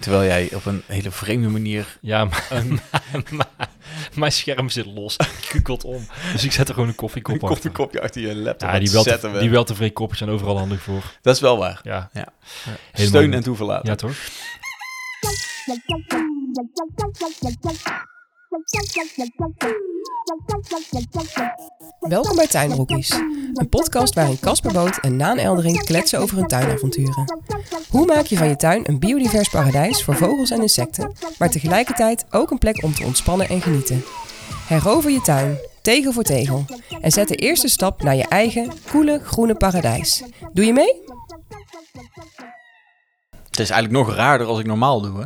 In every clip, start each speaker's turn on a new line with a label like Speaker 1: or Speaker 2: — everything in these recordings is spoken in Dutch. Speaker 1: Terwijl jij op een hele vreemde manier...
Speaker 2: Ja, maar, maar- maar- mijn scherm zit los. Kukelt om. Dus ik zet er gewoon een
Speaker 1: Een
Speaker 2: koffiekop achter.
Speaker 1: koffiekopje achter je laptop
Speaker 2: Ja, die
Speaker 1: wel
Speaker 2: wel,
Speaker 1: zetten
Speaker 2: die
Speaker 1: we.
Speaker 2: wel tevreden koppen zijn overal handig voor.
Speaker 1: Dat is wel waar.
Speaker 2: Ja.
Speaker 1: Ja.
Speaker 2: Helemaal
Speaker 1: Steun
Speaker 2: goed.
Speaker 1: en toeverlaten.
Speaker 2: Ja, toch?
Speaker 3: Welkom bij Tuinbroekies, een podcast waarin Casper Boot en Naan Eldering kletsen over hun tuinavonturen. Hoe maak je van je tuin een biodivers paradijs voor vogels en insecten, maar tegelijkertijd ook een plek om te ontspannen en genieten? Herover je tuin, tegel voor tegel, en zet de eerste stap naar je eigen koele groene paradijs. Doe je mee?
Speaker 1: Het is eigenlijk nog raarder als ik normaal doe, hè?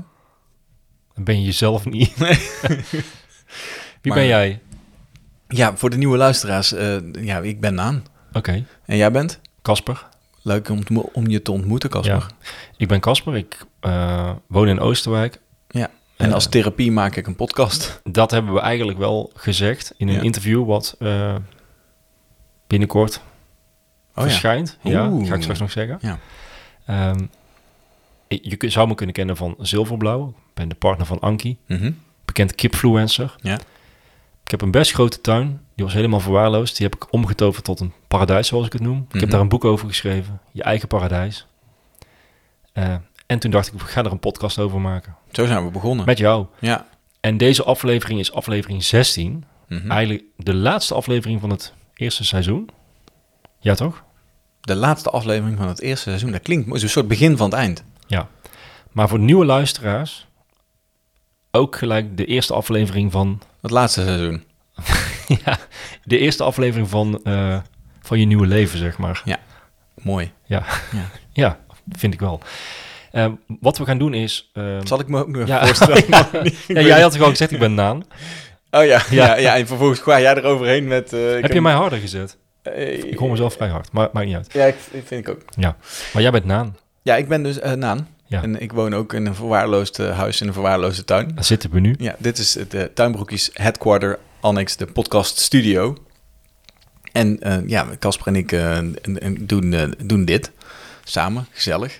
Speaker 2: Dan ben je jezelf niet. Wie
Speaker 1: Maar-
Speaker 2: ben jij?
Speaker 1: Ja, voor de nieuwe luisteraars. eh, ja, ik ben Naan.
Speaker 2: Oké,
Speaker 1: En jij bent?
Speaker 2: Casper.
Speaker 1: Leuk om, te- om je te ontmoeten, Casper.
Speaker 2: Ja. Ik ben Casper. Ik eh, woon in Oosterwijk.
Speaker 1: En
Speaker 2: Eh.
Speaker 1: als therapie maak ik een podcast.
Speaker 2: Dat hebben we eigenlijk wel gezegd in een
Speaker 1: Ja.
Speaker 2: interview wat eh, binnenkort
Speaker 1: Oh ja.
Speaker 2: verschijnt. Ja,
Speaker 1: Oeh.
Speaker 2: ga ik straks nog zeggen.
Speaker 1: Ja.
Speaker 2: Ehm, ik- je kun- zou me kunnen kennen van Zilverblauw. Ik ben de partner van Anki,
Speaker 1: Mhm.
Speaker 2: bekend kipfluencer.
Speaker 1: Ja.
Speaker 2: Ik heb een best grote tuin. Die was helemaal verwaarloosd. Die heb ik omgetoverd tot een paradijs, zoals ik het noem. Ik
Speaker 1: Mhm.
Speaker 2: heb daar een boek over geschreven. Je eigen paradijs. Eh, en toen dacht ik, we gaan er een podcast over maken.
Speaker 1: Zo zijn we begonnen.
Speaker 2: Met jou.
Speaker 1: Ja.
Speaker 2: En deze aflevering is aflevering 16.
Speaker 1: Mhm.
Speaker 2: Eigenlijk de laatste aflevering van het eerste seizoen. Ja, toch?
Speaker 1: De laatste aflevering van het eerste seizoen. Dat klinkt mooi. Het is een soort begin van het eind.
Speaker 2: Ja. Maar voor nieuwe luisteraars, ook gelijk de eerste aflevering van.
Speaker 1: Het laatste seizoen.
Speaker 2: ja, de eerste aflevering van, eh, van je nieuwe leven, zeg maar.
Speaker 1: Mooi.
Speaker 2: Ja,
Speaker 1: Ja.
Speaker 2: ja. vind ik wel. Eh, wat we gaan doen is. eh,
Speaker 1: Zal ik me ook nog even
Speaker 2: Ja.
Speaker 1: voorstellen?
Speaker 2: ja, jij had gewoon gezegd, ik ben Naan.
Speaker 1: Oh ja. Ja.
Speaker 2: Ja.
Speaker 1: ja, en vervolgens ga jij eroverheen met... eh, ik
Speaker 2: Heb je mij harder gezet?
Speaker 1: Eh,
Speaker 2: Ik hoor mezelf vrij hard, maar maakt niet uit.
Speaker 1: Ja, ik, ik vind ik ook.
Speaker 2: Ja. Maar jij bent Naan.
Speaker 1: Ja, ik ben dus eh, Naan.
Speaker 2: Ja.
Speaker 1: En ik woon ook in een verwaarloosd eh, huis in een verwaarloosde tuin.
Speaker 2: Daar zitten we nu.
Speaker 1: Ja, dit is het eh, Tuinbroekjes Headquarter Annex, de podcast studio. En eh, ja, Casper en ik eh, en- en doen, eh, doen dit samen, gezellig.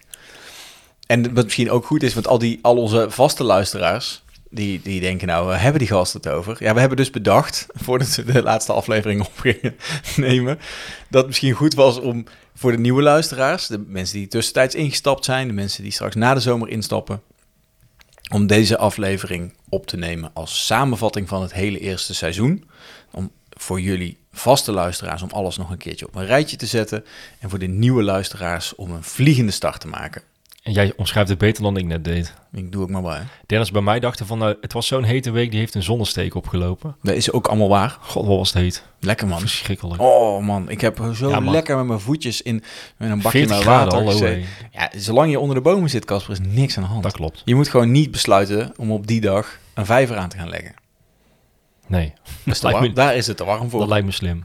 Speaker 1: En wat misschien ook goed is, want al, die, al onze vaste luisteraars, die, die denken nou, eh, hebben die gasten het over? Ja, we hebben dus bedacht, voordat we de laatste aflevering op gingen nemen, dat het misschien goed was om voor de nieuwe luisteraars, de mensen die tussentijds ingestapt zijn, de mensen die straks na de zomer instappen, om deze aflevering op te nemen als samenvatting van het hele eerste seizoen. Om voor jullie vaste luisteraars om alles nog een keertje op een rijtje te zetten. En voor de nieuwe luisteraars om een vliegende start te maken.
Speaker 2: En jij omschrijft het beter dan ik net deed.
Speaker 1: Ik doe ook maar bij.
Speaker 2: Dennis bij mij dacht van, nou, het was zo'n hete week, die heeft een zonnesteek opgelopen.
Speaker 1: Dat is ook allemaal waar.
Speaker 2: God, wat was het heet.
Speaker 1: Lekker man.
Speaker 2: Verschrikkelijk.
Speaker 1: Oh man, ik heb zo
Speaker 2: Ja, man.
Speaker 1: lekker met mijn voetjes in met een bakje
Speaker 2: 40
Speaker 1: met
Speaker 2: graden,
Speaker 1: water
Speaker 2: hallo.
Speaker 1: gezeten.
Speaker 2: hé.
Speaker 1: Ja, zolang je onder de bomen zit, Casper, is niks aan de hand.
Speaker 2: Dat klopt.
Speaker 1: Je moet gewoon niet besluiten om op die dag een vijver aan te gaan leggen.
Speaker 2: Nee,
Speaker 1: Dat is te
Speaker 2: lijkt me-
Speaker 1: warm. Daar is het te warm voor.
Speaker 2: dat lijkt me slim.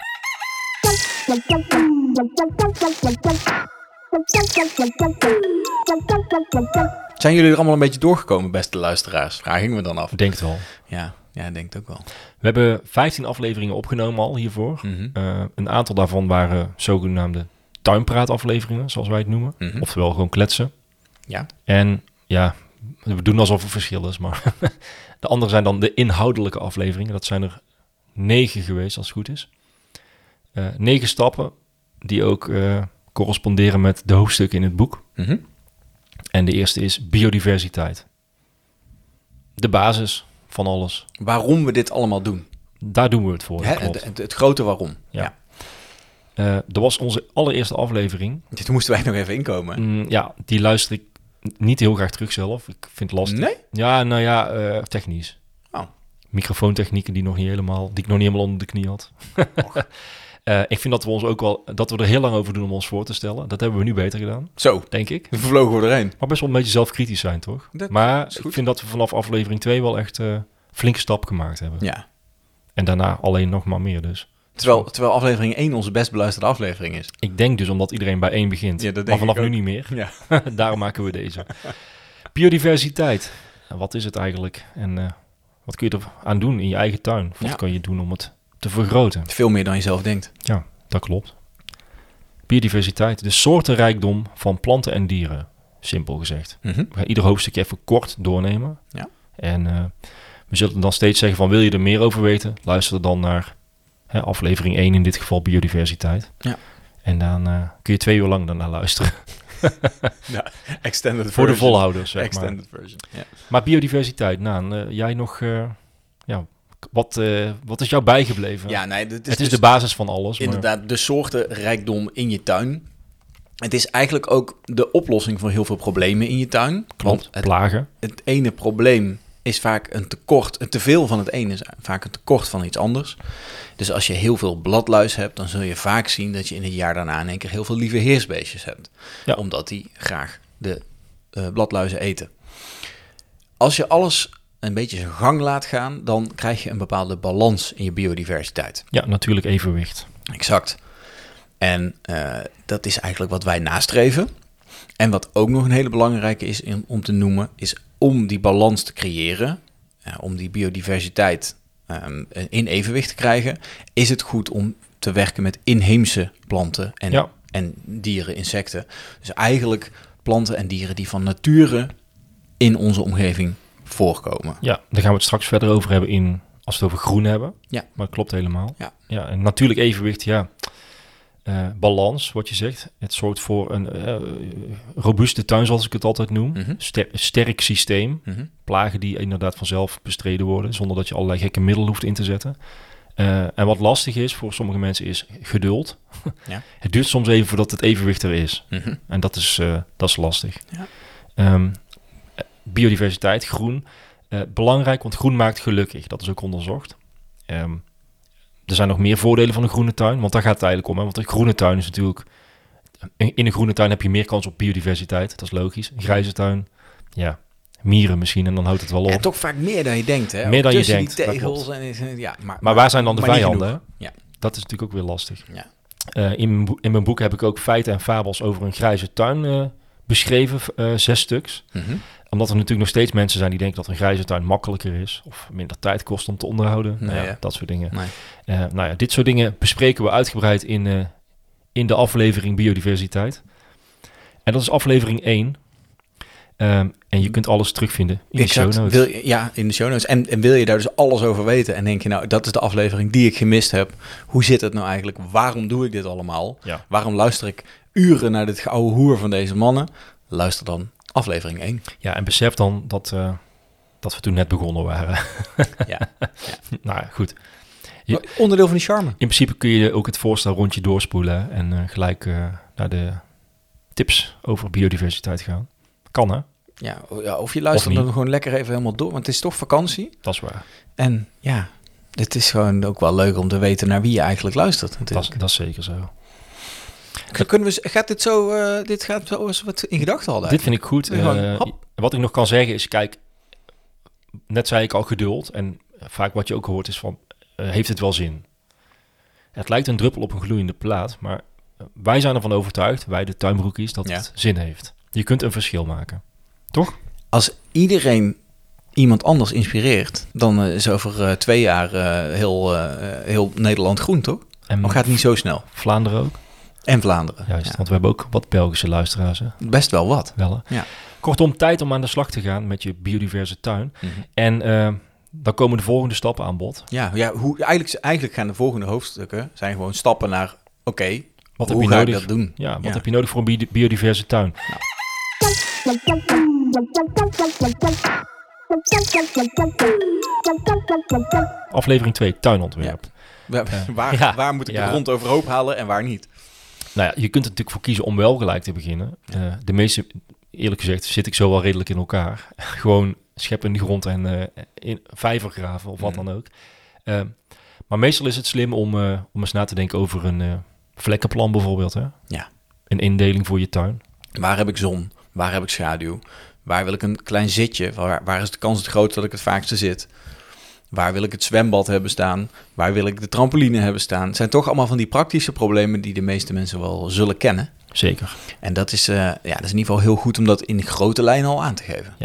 Speaker 1: Zijn jullie er allemaal een beetje doorgekomen, beste luisteraars? Vraag ik me dan af.
Speaker 2: Ik denk het wel.
Speaker 1: Ja, ja ik denk het ook wel.
Speaker 2: We hebben 15 afleveringen opgenomen al hiervoor.
Speaker 1: Mhm.
Speaker 2: Eh, een aantal daarvan waren zogenaamde tuinpraatafleveringen, zoals wij het noemen.
Speaker 1: Mhm.
Speaker 2: Oftewel gewoon kletsen.
Speaker 1: Ja.
Speaker 2: En ja, we doen alsof er verschil is, maar de andere zijn dan de inhoudelijke afleveringen. Dat zijn er negen geweest, als het goed is. Eh, negen stappen die ook eh, corresponderen met de hoofdstukken in het boek.
Speaker 1: Mhm.
Speaker 2: En de eerste is biodiversiteit. De basis van alles.
Speaker 1: Waarom we dit allemaal doen.
Speaker 2: Daar doen we het voor.
Speaker 1: Hè,
Speaker 2: Oh, dat klopt.
Speaker 1: het, het, het grote waarom. Ja.
Speaker 2: Ja. Eh, dat was onze allereerste aflevering.
Speaker 1: Dit moesten wij nog even inkomen. hè?
Speaker 2: Mm, ja, die luister ik n- niet heel graag terug zelf. Ik vind het lastig.
Speaker 1: Nee?
Speaker 2: Ja, nou ja, eh, technisch.
Speaker 1: Oh.
Speaker 2: Microfoontechnieken die, nog niet helemaal, die ik nog niet helemaal onder de knie had. Eh, ik vind dat we, ons ook wel, dat we er heel lang over doen om ons voor te stellen. Dat hebben we nu beter gedaan,
Speaker 1: Zo,
Speaker 2: denk ik.
Speaker 1: we vlogen we erheen.
Speaker 2: Maar best wel een beetje zelfkritisch zijn, toch?
Speaker 1: Dat is
Speaker 2: maar
Speaker 1: goed.
Speaker 2: ik vind dat we vanaf aflevering 2 wel echt eh, flinke stap gemaakt hebben.
Speaker 1: Ja.
Speaker 2: En daarna alleen nog maar meer dus.
Speaker 1: Terwijl, terwijl aflevering 1 onze best beluisterde aflevering is.
Speaker 2: Ik denk dus omdat iedereen bij één begint.
Speaker 1: Ja, dat denk
Speaker 2: maar
Speaker 1: ik
Speaker 2: vanaf nu
Speaker 1: ook.
Speaker 2: niet meer.
Speaker 1: Ja.
Speaker 2: Daarom maken we deze. Biodiversiteit. Nou, Wat is het eigenlijk? En eh, wat kun je er aan doen in je eigen tuin? Of Wat
Speaker 1: Ja.
Speaker 2: kan je doen om het te vergroten?
Speaker 1: Veel meer dan je zelf denkt.
Speaker 2: Ja, dat klopt. Biodiversiteit. De soortenrijkdom van planten en dieren. Simpel gezegd.
Speaker 1: Mhm.
Speaker 2: We gaan ieder hoofdstukje even kort doornemen.
Speaker 1: Ja.
Speaker 2: En eh, we zullen dan steeds zeggen van wil je er meer over weten? Luister dan naar hè, aflevering 1, in dit geval biodiversiteit.
Speaker 1: Ja.
Speaker 2: En dan eh, kun je twee uur lang daarna luisteren.
Speaker 1: Extended
Speaker 2: Voor de
Speaker 1: version.
Speaker 2: volhouders, zeg maar.
Speaker 1: Extended version. Ja.
Speaker 2: Maar biodiversiteit, Naan, eh, jij nog... eh, ja, wat, eh, wat is jou bijgebleven?
Speaker 1: ja, nee, dit is
Speaker 2: het
Speaker 1: dus
Speaker 2: is de basis van alles. maar-
Speaker 1: inderdaad de soortenrijkdom in je tuin. Het is eigenlijk ook de oplossing voor heel veel problemen in je tuin.
Speaker 2: Klopt,
Speaker 1: Want het
Speaker 2: plagen.
Speaker 1: het ene probleem is vaak een tekort. Een teveel van het ene is vaak een tekort van iets anders. Dus als je heel veel bladluis hebt, dan zul je vaak zien dat je in het jaar daarna in één keer heel veel lieve heersbeestjes hebt.
Speaker 2: Ja.
Speaker 1: Omdat die graag de eh, bladluizen eten. Als je alles een beetje zijn gang laat gaan, dan krijg je een bepaalde balans in je biodiversiteit.
Speaker 2: Ja, natuurlijk evenwicht.
Speaker 1: Exact. En eh, dat is eigenlijk wat wij nastreven. En wat ook nog een hele belangrijke is in- om te noemen, is om die balans te creëren, eh, om die biodiversiteit ehm, in evenwicht te krijgen, is het goed om te werken met inheemse planten en,
Speaker 2: Ja.
Speaker 1: en dieren, insecten. Dus eigenlijk planten en dieren die van nature in onze omgeving voorkomen.
Speaker 2: Ja, daar gaan we het straks verder over hebben in, als we het over groen hebben.
Speaker 1: Ja.
Speaker 2: Maar het klopt helemaal.
Speaker 1: Ja.
Speaker 2: ja en natuurlijk evenwicht, ja. Eh, balans, wat je zegt. Het zorgt voor een eh, robuuste tuin, zoals ik het altijd noem.
Speaker 1: Mhm.
Speaker 2: Ster- sterk systeem.
Speaker 1: Mhm.
Speaker 2: Plagen die inderdaad vanzelf bestreden worden, zonder dat je allerlei gekke middelen hoeft in te zetten. Eh, en wat lastig is voor sommige mensen is geduld.
Speaker 1: Ja.
Speaker 2: Het duurt soms even voordat het evenwicht er is.
Speaker 1: Mhm.
Speaker 2: En dat is, eh, dat is lastig.
Speaker 1: Ja.
Speaker 2: Ehm, eh, biodiversiteit, groen. eh, belangrijk, want groen maakt gelukkig. Dat is ook onderzocht. Ehm, er zijn nog meer voordelen van een groene tuin, want daar gaat het eigenlijk om. Hè? Want een groene tuin is natuurlijk... In in een groene tuin heb je meer kans op biodiversiteit. Dat is logisch. Een grijze tuin, ja, mieren misschien. En dan houdt het wel op.
Speaker 1: En toch vaak meer dan je denkt, hè?
Speaker 2: Meer dan je
Speaker 1: Tussen
Speaker 2: denkt,
Speaker 1: Die
Speaker 2: dat
Speaker 1: tegels en, eh, ja, maar,
Speaker 2: Maar waar zijn dan de
Speaker 1: maar niet
Speaker 2: vijanden?
Speaker 1: genoeg.
Speaker 2: hè?
Speaker 1: Ja.
Speaker 2: Dat is natuurlijk ook weer lastig.
Speaker 1: Ja.
Speaker 2: Eh, in, mijn boek, in mijn boek heb ik ook feiten en fabels over een grijze tuin eh, beschreven, v- eh, zes stuks.
Speaker 1: Mhm.
Speaker 2: Omdat er natuurlijk nog steeds mensen zijn die denken dat een grijze tuin makkelijker is of minder tijd kost om te onderhouden. Nou
Speaker 1: Nee,
Speaker 2: ja,
Speaker 1: hè?
Speaker 2: dat soort dingen.
Speaker 1: Nee.
Speaker 2: Eh, nou ja, dit soort dingen bespreken we uitgebreid in, eh, in de aflevering Biodiversiteit. En dat is aflevering 1. Ehm, en je kunt alles terugvinden in
Speaker 1: Exact.
Speaker 2: de show notes.
Speaker 1: Wil je, ja, in de show notes. En, en wil je daar dus alles over weten? En denk je, nou, dat is de aflevering die ik gemist heb. Hoe zit het nou eigenlijk? Waarom doe ik dit allemaal?
Speaker 2: Ja.
Speaker 1: Waarom luister ik uren naar dit gouden hoer van deze mannen? Luister dan aflevering 1.
Speaker 2: Ja, en besef dan dat, eh, dat we toen net begonnen waren.
Speaker 1: Ja.
Speaker 2: nou ja, goed. Ja.
Speaker 1: Maar Onderdeel van die charme.
Speaker 2: In principe kun je ook het voorstel rondje doorspoelen en eh, gelijk eh, naar de tips over biodiversiteit gaan. Kan hè?
Speaker 1: Ja, o- ja, of je luistert
Speaker 2: Of niet.
Speaker 1: dan gewoon lekker even helemaal door. Want het is toch vakantie.
Speaker 2: Dat is waar.
Speaker 1: En ja, het is gewoon ook wel leuk om te weten naar wie je eigenlijk luistert.
Speaker 2: Dat is,
Speaker 1: Natuurlijk.
Speaker 2: dat is zeker zo.
Speaker 1: Kunnen we, z- gaat dit zo, eh, dit gaat zo eens wat in gedachten al.
Speaker 2: Dit vind ik goed.
Speaker 1: Ja, gewoon,
Speaker 2: Eh,
Speaker 1: hop.
Speaker 2: wat ik nog kan zeggen is, kijk, net zei ik al geduld. En vaak wat je ook hoort is van, eh, heeft het wel zin? Het lijkt een druppel op een gloeiende plaat, maar eh, wij zijn ervan overtuigd, wij de tuinbroekies, dat
Speaker 1: Ja.
Speaker 2: het zin heeft. Je kunt een verschil maken. Toch?
Speaker 1: als iedereen iemand anders inspireert, dan eh, is over eh, twee jaar eh, heel, eh, eh, heel Nederland groen, toch?
Speaker 2: En
Speaker 1: Maar gaat niet zo snel.
Speaker 2: Vlaanderen ook.
Speaker 1: En Vlaanderen.
Speaker 2: Juist,
Speaker 1: Ja.
Speaker 2: want we hebben ook wat Belgische luisteraars. Hè?
Speaker 1: Best wel wat.
Speaker 2: Wel, hè?
Speaker 1: Ja.
Speaker 2: Kortom, tijd om aan de slag te gaan met je biodiverse tuin.
Speaker 1: Mhm.
Speaker 2: En eh, dan komen de volgende stappen aan bod.
Speaker 1: Ja, ja hoe, eigenlijk, eigenlijk gaan de volgende hoofdstukken zijn gewoon stappen naar... Oké,
Speaker 2: Wat
Speaker 1: hoe
Speaker 2: heb je
Speaker 1: ga
Speaker 2: nodig?
Speaker 1: ik dat doen?
Speaker 2: Ja, wat
Speaker 1: Ja.
Speaker 2: heb je nodig voor een bi- biodiverse tuin? Aflevering 2, tuinontwerp.
Speaker 1: Waar, waar,
Speaker 2: Ja.
Speaker 1: waar moet ik
Speaker 2: Ja.
Speaker 1: de grond overhoop halen en waar niet?
Speaker 2: Nou ja, je kunt er natuurlijk voor kiezen om wel gelijk te beginnen. Eh, de meeste, eerlijk gezegd, zit ik zo wel redelijk in elkaar. Gewoon schep in de grond en eh, in vijver graven of wat
Speaker 1: Mhm.
Speaker 2: dan ook. Eh, maar meestal is het slim om, eh, om eens na te denken over een eh, vlekkenplan bijvoorbeeld. Hè?
Speaker 1: Ja.
Speaker 2: Een indeling voor je tuin.
Speaker 1: Waar heb ik zon? Waar heb ik schaduw? Waar wil ik een klein zitje? Waar, waar is de kans het groot dat ik het vaakste zit? Waar wil ik het zwembad hebben staan? Waar wil ik de trampoline hebben staan? Het zijn toch allemaal van die praktische problemen die de meeste mensen wel zullen kennen.
Speaker 2: Zeker.
Speaker 1: En dat is, eh, ja, dat is in ieder geval heel goed om dat in grote lijnen al aan te geven.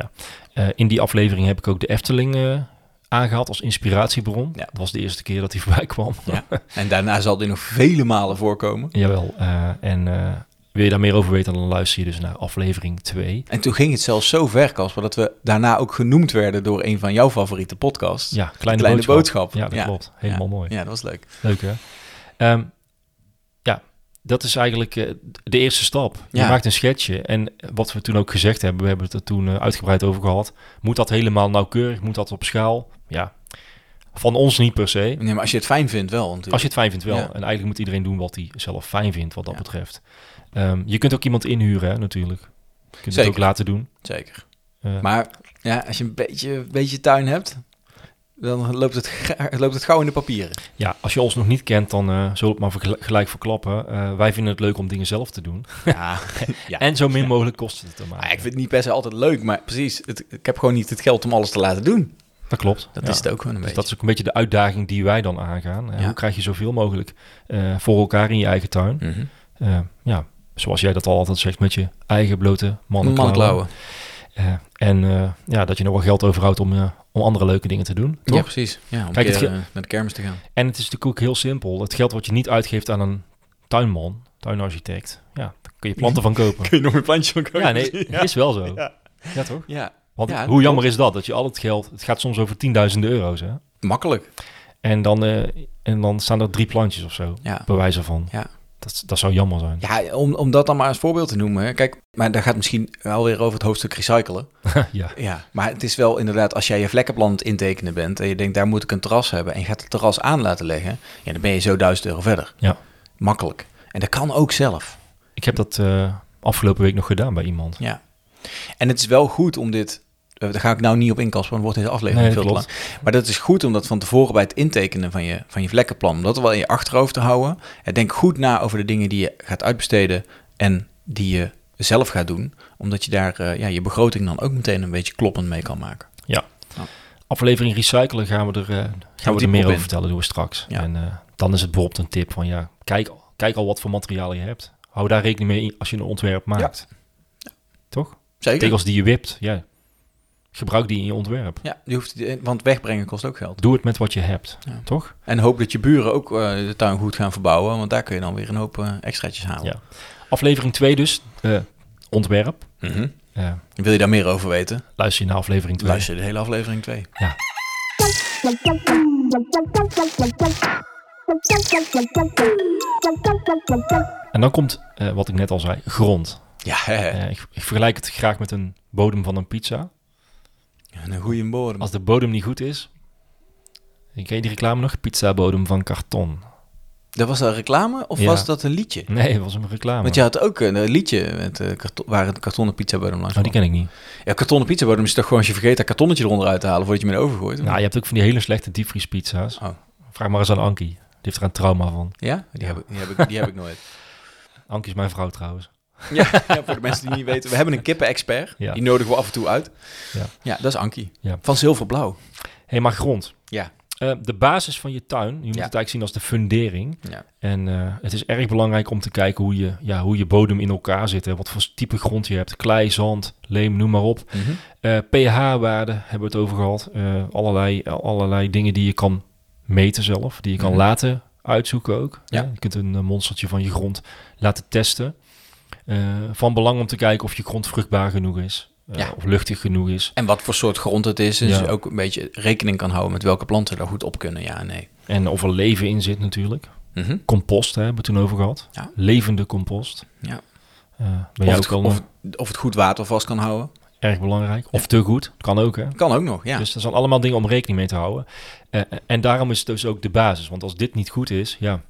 Speaker 2: Eh, in die aflevering heb ik ook de Efteling eh, aangehaald als inspiratiebron.
Speaker 1: Ja.
Speaker 2: Dat was de eerste keer dat hij voorbij kwam.
Speaker 1: Ja. En daarna zal dit nog vele malen voorkomen.
Speaker 2: Jawel. eh, en eh, Wil je daar meer over weten, dan luister je dus naar aflevering 2.
Speaker 1: En toen ging het zelfs zo ver, Casper, dat we daarna ook genoemd werden door een van jouw favoriete podcasts.
Speaker 2: Ja, kleine,
Speaker 1: Kleine
Speaker 2: boodschap.
Speaker 1: Boodschap.
Speaker 2: Ja, dat
Speaker 1: Ja.
Speaker 2: klopt. Helemaal mooi.
Speaker 1: Ja, dat was leuk.
Speaker 2: Leuk hè? Ehm, ja, dat is eigenlijk eh, de eerste stap. Je
Speaker 1: Ja.
Speaker 2: maakt een schetsje. En wat we toen ook gezegd hebben, we hebben het er toen eh, uitgebreid over gehad. Moet dat helemaal nauwkeurig? Moet dat op schaal? Ja, van ons niet per se.
Speaker 1: Nee, maar als je het fijn vindt wel natuurlijk.
Speaker 2: Als je het fijn vindt wel.
Speaker 1: Ja.
Speaker 2: En eigenlijk moet iedereen doen wat hij zelf fijn vindt wat dat
Speaker 1: Ja.
Speaker 2: betreft. Ehm, je kunt ook iemand inhuren hè, natuurlijk. Je kunt
Speaker 1: Zeker.
Speaker 2: het ook laten doen.
Speaker 1: Zeker.
Speaker 2: Eh,
Speaker 1: Maar ja, als je een beetje, een beetje tuin hebt, dan loopt het, ga- loopt het gauw in de papieren.
Speaker 2: ja, als je ons nog niet kent, dan eh zullen we het maar vergel- gelijk verklappen. Eh, wij vinden het leuk om dingen zelf te doen.
Speaker 1: Ja, Ja.
Speaker 2: En zo min mogelijk kosten te
Speaker 1: Maar
Speaker 2: maken.
Speaker 1: ik vind het niet per se altijd leuk, maar precies. Het, ik heb gewoon niet het geld om alles te laten doen.
Speaker 2: Dat klopt.
Speaker 1: Dat
Speaker 2: Ja.
Speaker 1: is het ook gewoon een
Speaker 2: Dus dat
Speaker 1: beetje.
Speaker 2: is ook een beetje de uitdaging die wij dan aangaan. Eh,
Speaker 1: Ja.
Speaker 2: Hoe krijg je zoveel mogelijk eh, voor elkaar in je eigen tuin?
Speaker 1: Mhm.
Speaker 2: Eh, ja, zoals jij dat al altijd zegt, met je eigen blote mannenklauwen.
Speaker 1: Mannenklauwen.
Speaker 2: Eh, en eh, ja, dat je nog wel geld overhoudt om, eh, om andere leuke dingen te doen. Toch?
Speaker 1: Ja, precies. Ja, om
Speaker 2: Kijk,
Speaker 1: een
Speaker 2: het
Speaker 1: keer,
Speaker 2: ge-
Speaker 1: eh, naar de kermis te gaan.
Speaker 2: En het is natuurlijk ook heel simpel. Het geld wat je niet uitgeeft aan een tuinman, tuinarchitect, ja, daar kun je planten van kopen.
Speaker 1: Kun je nog een plantje van kopen?
Speaker 2: Ja, nee, is wel zo.
Speaker 1: Ja.
Speaker 2: Ja, toch?
Speaker 1: Ja,
Speaker 2: Want
Speaker 1: Ja,
Speaker 2: hoe jammer is dat? Dat je al het geld, het gaat soms over tienduizenden euro's, hè?
Speaker 1: makkelijk.
Speaker 2: En dan, eh, en dan staan er drie plantjes of zo.
Speaker 1: Ja.
Speaker 2: bewijzen van.
Speaker 1: Ja.
Speaker 2: Dat, dat zou jammer zijn.
Speaker 1: Ja, om, om dat dan maar als voorbeeld te noemen. hè. Kijk, maar daar gaat misschien wel weer over het hoofdstuk recyclen.
Speaker 2: ja.
Speaker 1: Ja. Maar het is wel inderdaad, als jij je vlekkenplan aan het intekenen bent... en je denkt, daar moet ik een terras hebben... en je gaat het terras aan laten leggen... ja, dan ben je zo duizend euro verder.
Speaker 2: Ja.
Speaker 1: Makkelijk. En dat kan ook zelf.
Speaker 2: Ik heb dat eh, afgelopen week nog gedaan bij iemand.
Speaker 1: Ja. En het is wel goed om dit... eh, Daar ga ik nou niet op inkasten, want dan wordt deze aflevering
Speaker 2: Nee,
Speaker 1: veel te
Speaker 2: klopt.
Speaker 1: lang. Maar dat is goed om dat van tevoren bij het intekenen van je, van je vlekkenplan... om dat wel in je achterhoofd te houden. En denk goed na over de dingen die je gaat uitbesteden... en die je zelf gaat doen. Omdat je daar eh, ja, je begroting dan ook meteen een beetje kloppend mee kan maken.
Speaker 2: Aflevering recyclen gaan we er, eh, gaan we
Speaker 1: diep
Speaker 2: er
Speaker 1: op
Speaker 2: meer over
Speaker 1: in.
Speaker 2: vertellen, doen we straks.
Speaker 1: Ja.
Speaker 2: En eh, dan is het bijvoorbeeld een tip van ja, kijk, kijk al wat voor materialen je hebt. Hou daar rekening mee als je een ontwerp maakt. Toch?
Speaker 1: Zeker?
Speaker 2: Tegels die je wipt, ja. Gebruik die in je ontwerp.
Speaker 1: Ja, je hoeft, die- want wegbrengen kost ook geld.
Speaker 2: Doe het met wat je hebt,
Speaker 1: Ja.
Speaker 2: toch?
Speaker 1: En hoop dat je buren ook eh, de tuin goed gaan verbouwen... want daar kun je dan weer een hoop eh, extraatjes halen.
Speaker 2: Ja. Aflevering 2 dus, eh, ontwerp.
Speaker 1: Mhm.
Speaker 2: Eh,
Speaker 1: Wil je daar meer over weten?
Speaker 2: luister je naar aflevering 2.
Speaker 1: Luister de hele aflevering 2.
Speaker 2: En dan komt, eh, wat ik net al zei, grond.
Speaker 1: Ja, hè, hè.
Speaker 2: Eh, ik, ik vergelijk het graag met een bodem van een pizza.
Speaker 1: En een goede bodem.
Speaker 2: Als de bodem niet goed is. Ik ken je die reclame nog? Pizza bodem van karton.
Speaker 1: Dat was dat reclame of
Speaker 2: Ja.
Speaker 1: was dat een liedje?
Speaker 2: Nee, dat was een reclame.
Speaker 1: Want je had ook een eh, liedje met, eh, karton- waar een kartonnen pizzabodem langs
Speaker 2: Oh, die
Speaker 1: kwam.
Speaker 2: ken ik niet.
Speaker 1: Ja, kartonnen pizzabodem is toch gewoon als je vergeet dat kartonnetje eronder uit te halen voordat je hem in de oven gooit?
Speaker 2: Nou, je hebt ook van die hele slechte diepvriespizza's.
Speaker 1: Oh.
Speaker 2: Vraag maar eens aan Ankie. Die heeft er een trauma van.
Speaker 1: Ja? Die, Heb ik, die, heb ik, die heb ik nooit.
Speaker 2: Ankie is mijn vrouw trouwens.
Speaker 1: Ja, ja, voor de mensen die niet weten. We hebben een kippen-expert.
Speaker 2: Ja.
Speaker 1: Die nodigen we af en toe uit.
Speaker 2: Ja.
Speaker 1: dat is Ankie.
Speaker 2: Ja.
Speaker 1: Van zilverblauw.
Speaker 2: Hé, hey, maar grond.
Speaker 1: Ja.
Speaker 2: Eh, de basis van je tuin, je moet het eigenlijk zien als de fundering.
Speaker 1: Ja.
Speaker 2: En eh, het is erg belangrijk om te kijken hoe je, ja, hoe je bodem in elkaar zit. Hè. Wat voor type grond je hebt. Klei, zand, leem, noem maar op.
Speaker 1: Mhm.
Speaker 2: Eh, pH-waarden hebben we het over gehad. Eh, allerlei, allerlei dingen die je kan meten zelf, die je kan
Speaker 1: Mhm.
Speaker 2: laten uitzoeken ook.
Speaker 1: Ja.
Speaker 2: Eh, Je kunt een eh, monstertje van je grond laten testen. Eh, van belang om te kijken of je grond vruchtbaar genoeg is, eh,
Speaker 1: Ja.
Speaker 2: of luchtig genoeg is.
Speaker 1: En wat voor soort grond het is. Dus
Speaker 2: Ja.
Speaker 1: ook een beetje rekening kan houden met welke planten er goed op kunnen. Ja, nee.
Speaker 2: En of er leven in zit natuurlijk.
Speaker 1: Mhm.
Speaker 2: Compost hè, hebben we het toen over gehad.
Speaker 1: Ja.
Speaker 2: Levende compost.
Speaker 1: Ja.
Speaker 2: Eh,
Speaker 1: Of,
Speaker 2: ben jij
Speaker 1: het,
Speaker 2: ook al
Speaker 1: of, of het goed water vast kan houden.
Speaker 2: erg belangrijk. Of te goed, kan ook hè.
Speaker 1: Kan ook nog, ja.
Speaker 2: Dus dat zijn allemaal dingen om rekening mee te houden. Eh, en daarom is het dus ook de basis. Want als dit niet goed is, ja,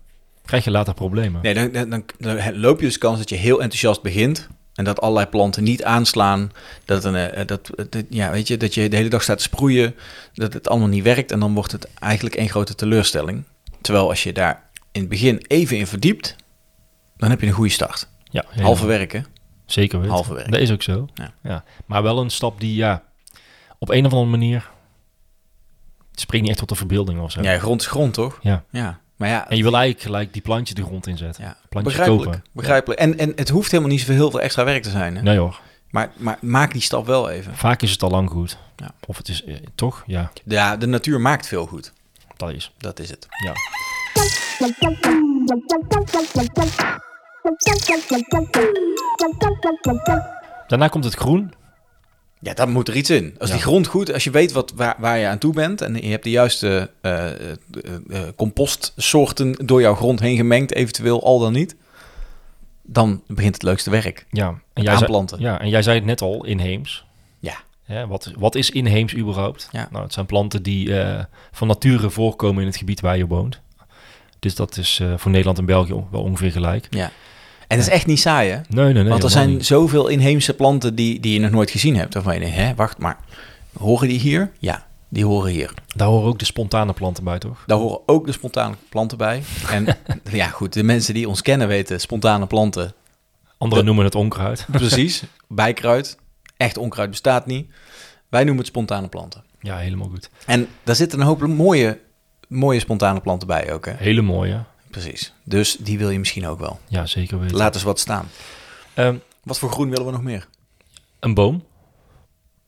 Speaker 2: krijg je later problemen.
Speaker 1: Nee, dan, dan, dan, dan loop je dus kans dat je heel enthousiast begint. En dat allerlei planten niet aanslaan. Dat, een, eh, dat, dat- ja, weet je, dat je de hele dag staat te sproeien. Dat het allemaal niet werkt. En dan wordt het eigenlijk één grote teleurstelling. Terwijl als je daar in het begin even in verdiept. Dan heb je een goede start.
Speaker 2: Ja, ja,
Speaker 1: Halve werken.
Speaker 2: Zeker weten.
Speaker 1: halve werk.
Speaker 2: Dat is ook zo.
Speaker 1: Ja.
Speaker 2: Maar wel een stap die, ja, op een of andere manier... Het springt niet echt tot de verbeelding of zo.
Speaker 1: Ja, grond is grond, toch?
Speaker 2: Ja.
Speaker 1: Ja. Maar ja,
Speaker 2: En je wil eigenlijk gelijk die plantje de grond inzetten.
Speaker 1: ja.
Speaker 2: plantjes
Speaker 1: begrijpelijk.
Speaker 2: kopen.
Speaker 1: begrijpelijk. En, en het hoeft helemaal niet zoveel heel veel extra werk te zijn. Hè?
Speaker 2: Nee hoor,
Speaker 1: Maar, maar maak die stap wel even.
Speaker 2: vaak is het al lang goed.
Speaker 1: Ja.
Speaker 2: Of het is, eh, toch? Ja,
Speaker 1: Ja, de natuur maakt veel goed.
Speaker 2: dat is.
Speaker 1: Dat is het.
Speaker 2: Ja. Daarna komt het groen.
Speaker 1: Ja, daar moet er iets in. Als
Speaker 2: Ja.
Speaker 1: die grond goed, als je weet wat, waar, waar je aan toe bent en je hebt de juiste eh, eh, eh, compostsoorten door jouw grond heen gemengd, eventueel al dan niet, dan begint het leukste werk.
Speaker 2: Ja, en
Speaker 1: Het
Speaker 2: jij zei,
Speaker 1: aanplanten.
Speaker 2: ja, en jij zei het net al, inheems.
Speaker 1: Ja.
Speaker 2: Hè, wat, wat is inheems überhaupt?
Speaker 1: Ja.
Speaker 2: Nou, het zijn planten die eh, van nature voorkomen in het gebied waar je woont. Dus dat is eh, voor Nederland en België on- wel ongeveer gelijk.
Speaker 1: En dat is echt niet saai, hè?
Speaker 2: Nee, nee, nee.
Speaker 1: Want er
Speaker 2: helemaal
Speaker 1: zijn
Speaker 2: niet.
Speaker 1: zoveel inheemse planten die, die je nog nooit gezien hebt. Waarvan je denkt, hè, wacht maar, horen die hier? Ja, die horen hier.
Speaker 2: Daar horen ook de spontane planten bij, toch?
Speaker 1: Daar horen ook de spontane planten bij. En ja, goed, de mensen die ons kennen weten, spontane planten,
Speaker 2: Anderen
Speaker 1: De-
Speaker 2: noemen het onkruid.
Speaker 1: precies, bijkruid. Echt onkruid bestaat niet. Wij noemen het spontane planten.
Speaker 2: Ja, helemaal goed.
Speaker 1: En daar zitten een hoop mooie, mooie spontane planten bij ook, hè?
Speaker 2: Hele mooie.
Speaker 1: Precies. Dus die wil je misschien ook wel.
Speaker 2: Ja, zeker weten.
Speaker 1: Laat eens wat staan.
Speaker 2: Ehm,
Speaker 1: Wat voor groen willen we nog meer?
Speaker 2: een boom.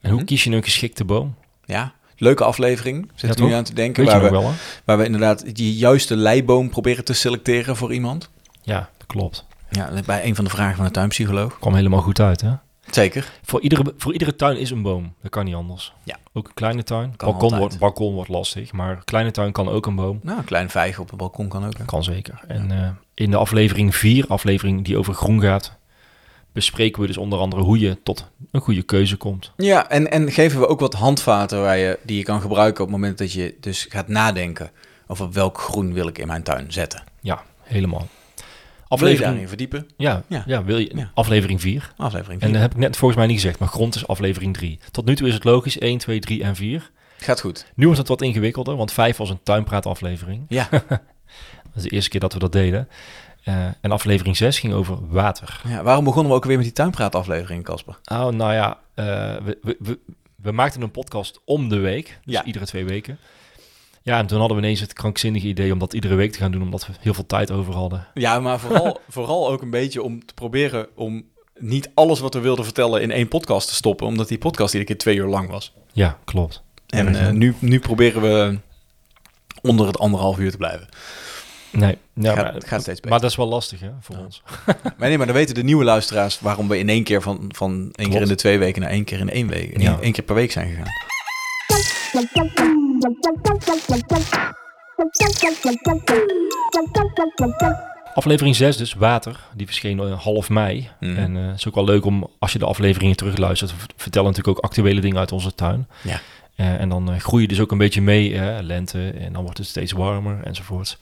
Speaker 2: En hoe
Speaker 1: Mhm.
Speaker 2: kies je een geschikte boom?
Speaker 1: Ja, leuke aflevering. Zit
Speaker 2: Ja,
Speaker 1: er nu
Speaker 2: toch?
Speaker 1: aan te denken.
Speaker 2: Weet je
Speaker 1: waar we
Speaker 2: nog wel, hè?
Speaker 1: Waar we inderdaad die juiste leiboom proberen te selecteren voor iemand.
Speaker 2: Ja, dat klopt.
Speaker 1: Ja, bij een van de vragen van de tuinpsycholoog.
Speaker 2: Kwam helemaal goed uit, hè?
Speaker 1: Zeker.
Speaker 2: Voor iedere, voor iedere tuin is een boom. Dat kan niet anders.
Speaker 1: Ja.
Speaker 2: Ook een kleine tuin.
Speaker 1: Kan
Speaker 2: balkon,
Speaker 1: altijd.
Speaker 2: wordt, balkon wordt lastig, maar een kleine tuin kan ook een boom.
Speaker 1: Nou, een klein vijg op het balkon kan ook. hè?
Speaker 2: Kan zeker. En eh, in de aflevering 4, aflevering die over groen gaat, bespreken we dus onder andere hoe je tot een goede keuze komt.
Speaker 1: Ja, en, en geven we ook wat handvaten waar je, die je kan gebruiken op het moment dat je dus gaat nadenken over welk groen wil ik in mijn tuin zetten.
Speaker 2: Ja, helemaal.
Speaker 1: Wil je
Speaker 2: Aflevering,
Speaker 1: daarin verdiepen?
Speaker 2: ja,
Speaker 1: Ja.
Speaker 2: ja. wil je,
Speaker 1: Ja.
Speaker 2: aflevering 4.
Speaker 1: Aflevering
Speaker 2: En
Speaker 1: vier.
Speaker 2: dat heb ik net volgens mij niet gezegd, maar grond is aflevering 3. Tot nu toe is het logisch, 1, 2, 3 en 4.
Speaker 1: Gaat goed.
Speaker 2: Nu wordt het wat ingewikkelder, want 5 was een tuinpraataflevering.
Speaker 1: Ja,
Speaker 2: Dat is de eerste keer dat we dat deden. Eh, en aflevering 6 ging over water.
Speaker 1: ja, waarom begonnen we ook weer met die tuinpraataflevering, Casper?
Speaker 2: Oh, nou ja, eh, we, we, we, we maakten een podcast om de week. Dus
Speaker 1: Ja.
Speaker 2: iedere twee weken. Ja, en toen hadden we ineens het krankzinnige idee om dat iedere week te gaan doen, omdat we heel veel tijd over hadden.
Speaker 1: Ja, maar vooral, vooral ook een beetje om te proberen om niet alles wat we wilden vertellen in één podcast te stoppen, omdat die podcast iedere keer twee uur lang was.
Speaker 2: Ja, klopt.
Speaker 1: En
Speaker 2: Erg, hè?
Speaker 1: eh, nu, nu proberen we onder het anderhalf uur te blijven.
Speaker 2: Nee, ja,
Speaker 1: gaat,
Speaker 2: maar,
Speaker 1: gaat steeds beter.
Speaker 2: maar dat is wel lastig hè, voor
Speaker 1: Ja.
Speaker 2: ons.
Speaker 1: maar nee, maar dan weten de nieuwe luisteraars waarom we in één keer van, van één keer in de twee weken naar één keer in de één week, in
Speaker 2: Ja.
Speaker 1: één keer per week zijn gegaan.
Speaker 2: Aflevering 6 dus, Water, die verscheen eh, half mei.
Speaker 1: Mhm.
Speaker 2: En eh, het is ook wel leuk om, als je de afleveringen terugluistert, we vertellen natuurlijk ook actuele dingen uit onze tuin.
Speaker 1: Ja.
Speaker 2: Eh, en dan eh, groei je dus ook een beetje mee, eh, lente, en dan wordt het steeds warmer enzovoort.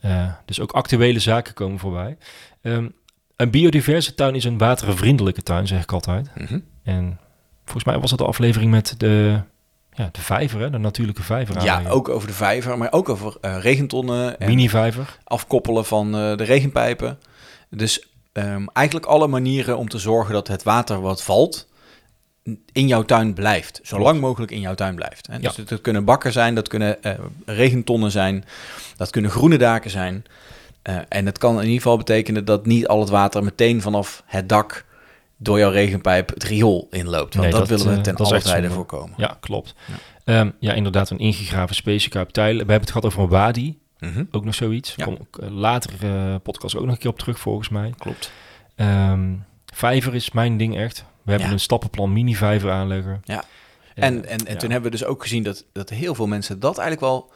Speaker 2: Eh, dus ook actuele zaken komen voorbij. Ehm, een biodiverse tuin is een watervriendelijke tuin, zeg ik altijd.
Speaker 1: Mhm.
Speaker 2: En volgens mij was dat de aflevering met de, ja, de vijver, hè, de natuurlijke vijver.
Speaker 1: Ja,
Speaker 2: aanleggen.
Speaker 1: ook over de vijver, maar ook over eh, regentonnen en
Speaker 2: Mini-vijver.
Speaker 1: afkoppelen van eh, de regenpijpen. Dus ehm, eigenlijk alle manieren om te zorgen dat het water wat valt in jouw tuin blijft. Zo lang mogelijk in jouw tuin blijft. Hè? Dus
Speaker 2: Ja.
Speaker 1: dat, dat kunnen bakken zijn, dat kunnen eh, regentonnen zijn, dat kunnen groene daken zijn. Eh, en dat kan in ieder geval betekenen dat niet al het water meteen vanaf het dak door jouw regenpijp het riool inloopt. Want
Speaker 2: Nee,
Speaker 1: dat,
Speaker 2: dat,
Speaker 1: willen we
Speaker 2: eh,
Speaker 1: ten
Speaker 2: dat is
Speaker 1: alle
Speaker 2: echt
Speaker 1: tijde
Speaker 2: zonde.
Speaker 1: voorkomen.
Speaker 2: Ja, klopt.
Speaker 1: Ja.
Speaker 2: Ja, ja inderdaad, een ingegraven spacekuip tijlen. We hebben het gehad over een wadi,
Speaker 1: Mhm,
Speaker 2: ook nog zoiets.
Speaker 1: Ja.
Speaker 2: Kom ik, eh, later eh, podcast ook nog een keer op terug, volgens mij.
Speaker 1: Klopt.
Speaker 2: Ehm, vijver is mijn ding echt. We hebben
Speaker 1: Ja.
Speaker 2: een stappenplan mini-vijver aanleggen.
Speaker 1: Ja.
Speaker 2: Eh,
Speaker 1: En, en, en
Speaker 2: ja.
Speaker 1: toen hebben we dus ook gezien dat, dat heel veel mensen dat eigenlijk wel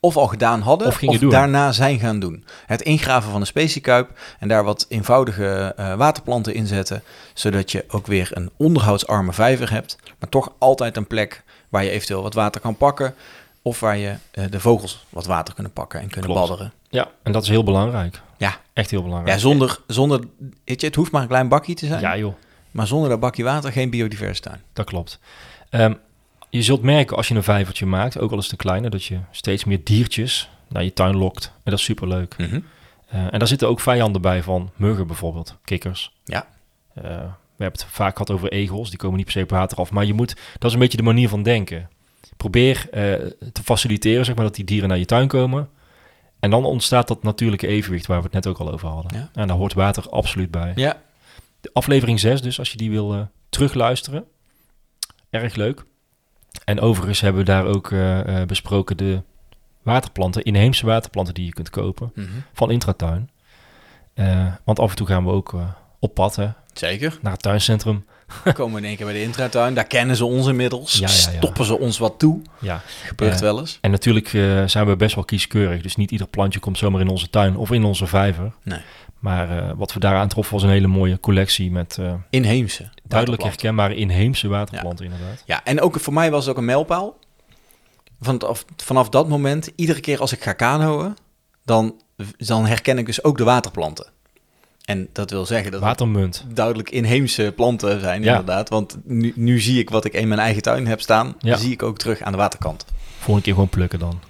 Speaker 1: of al gedaan hadden
Speaker 2: Of gingen doen.
Speaker 1: daarna zijn gaan doen. Het ingraven van een speciekuip en daar wat eenvoudige eh, waterplanten in zetten, zodat je ook weer een onderhoudsarme vijver hebt, maar toch altijd een plek waar je eventueel wat water kan pakken of waar je eh, de vogels wat water kunnen pakken en kunnen
Speaker 2: Klopt.
Speaker 1: badderen.
Speaker 2: Ja, en dat is heel belangrijk.
Speaker 1: Ja.
Speaker 2: Echt heel
Speaker 1: Ja,
Speaker 2: belangrijk.
Speaker 1: zonder, zonder weet je, het hoeft maar een klein bakje te zijn,
Speaker 2: Ja, joh,
Speaker 1: maar zonder dat bakje water geen biodiverse tuin.
Speaker 2: dat klopt. Ehm, je zult merken als je een vijvertje maakt, ook al is het een kleine, dat je steeds meer diertjes naar je tuin lokt. En dat is superleuk. Eh, en daar zitten ook vijanden bij van muggen bijvoorbeeld, kikkers.
Speaker 1: Ja.
Speaker 2: Eh, we hebben het vaak gehad over egels, die komen niet per se op water af. Maar je moet, dat is een beetje de manier van denken. Probeer eh, te faciliteren, zeg maar, dat die dieren naar je tuin komen. En dan ontstaat dat natuurlijke evenwicht waar we het net ook al over hadden.
Speaker 1: Ja.
Speaker 2: En daar hoort water absoluut bij.
Speaker 1: Ja,
Speaker 2: De aflevering 6 dus, als je die wil eh, terugluisteren. Erg leuk. En overigens hebben we daar ook eh, eh, besproken de waterplanten, inheemse waterplanten die je kunt kopen
Speaker 1: Mhm.
Speaker 2: van Intratuin. Eh, want af en toe gaan we ook eh, op pad hè,
Speaker 1: Zeker.
Speaker 2: naar het tuincentrum.
Speaker 1: We komen in één keer bij de intratuin. Daar kennen ze ons inmiddels.
Speaker 2: Ja, ja, ja.
Speaker 1: Stoppen ze ons wat toe.
Speaker 2: Ja,
Speaker 1: Gebeurt
Speaker 2: Eh,
Speaker 1: wel eens.
Speaker 2: En natuurlijk eh, zijn we best wel kieskeurig. Dus niet ieder plantje komt zomaar in onze tuin of in onze vijver.
Speaker 1: Nee.
Speaker 2: Maar eh, wat we daar aantroffen was een hele mooie collectie met eh,
Speaker 1: Inheemse.
Speaker 2: duidelijk
Speaker 1: waterplanten.
Speaker 2: herkenbare inheemse waterplanten inderdaad.
Speaker 1: Ja, en ook voor mij was het ook een mijlpaal. Want af- vanaf dat moment, iedere keer als ik ga kanoën, dan, dan herken ik dus ook de waterplanten. En dat wil zeggen dat het
Speaker 2: Watermunt.
Speaker 1: duidelijk inheemse planten zijn,
Speaker 2: Ja.
Speaker 1: inderdaad. Want nu, nu zie ik wat ik in mijn eigen tuin heb staan,
Speaker 2: Ja.
Speaker 1: zie ik ook terug aan de waterkant.
Speaker 2: Volgende keer gewoon plukken dan.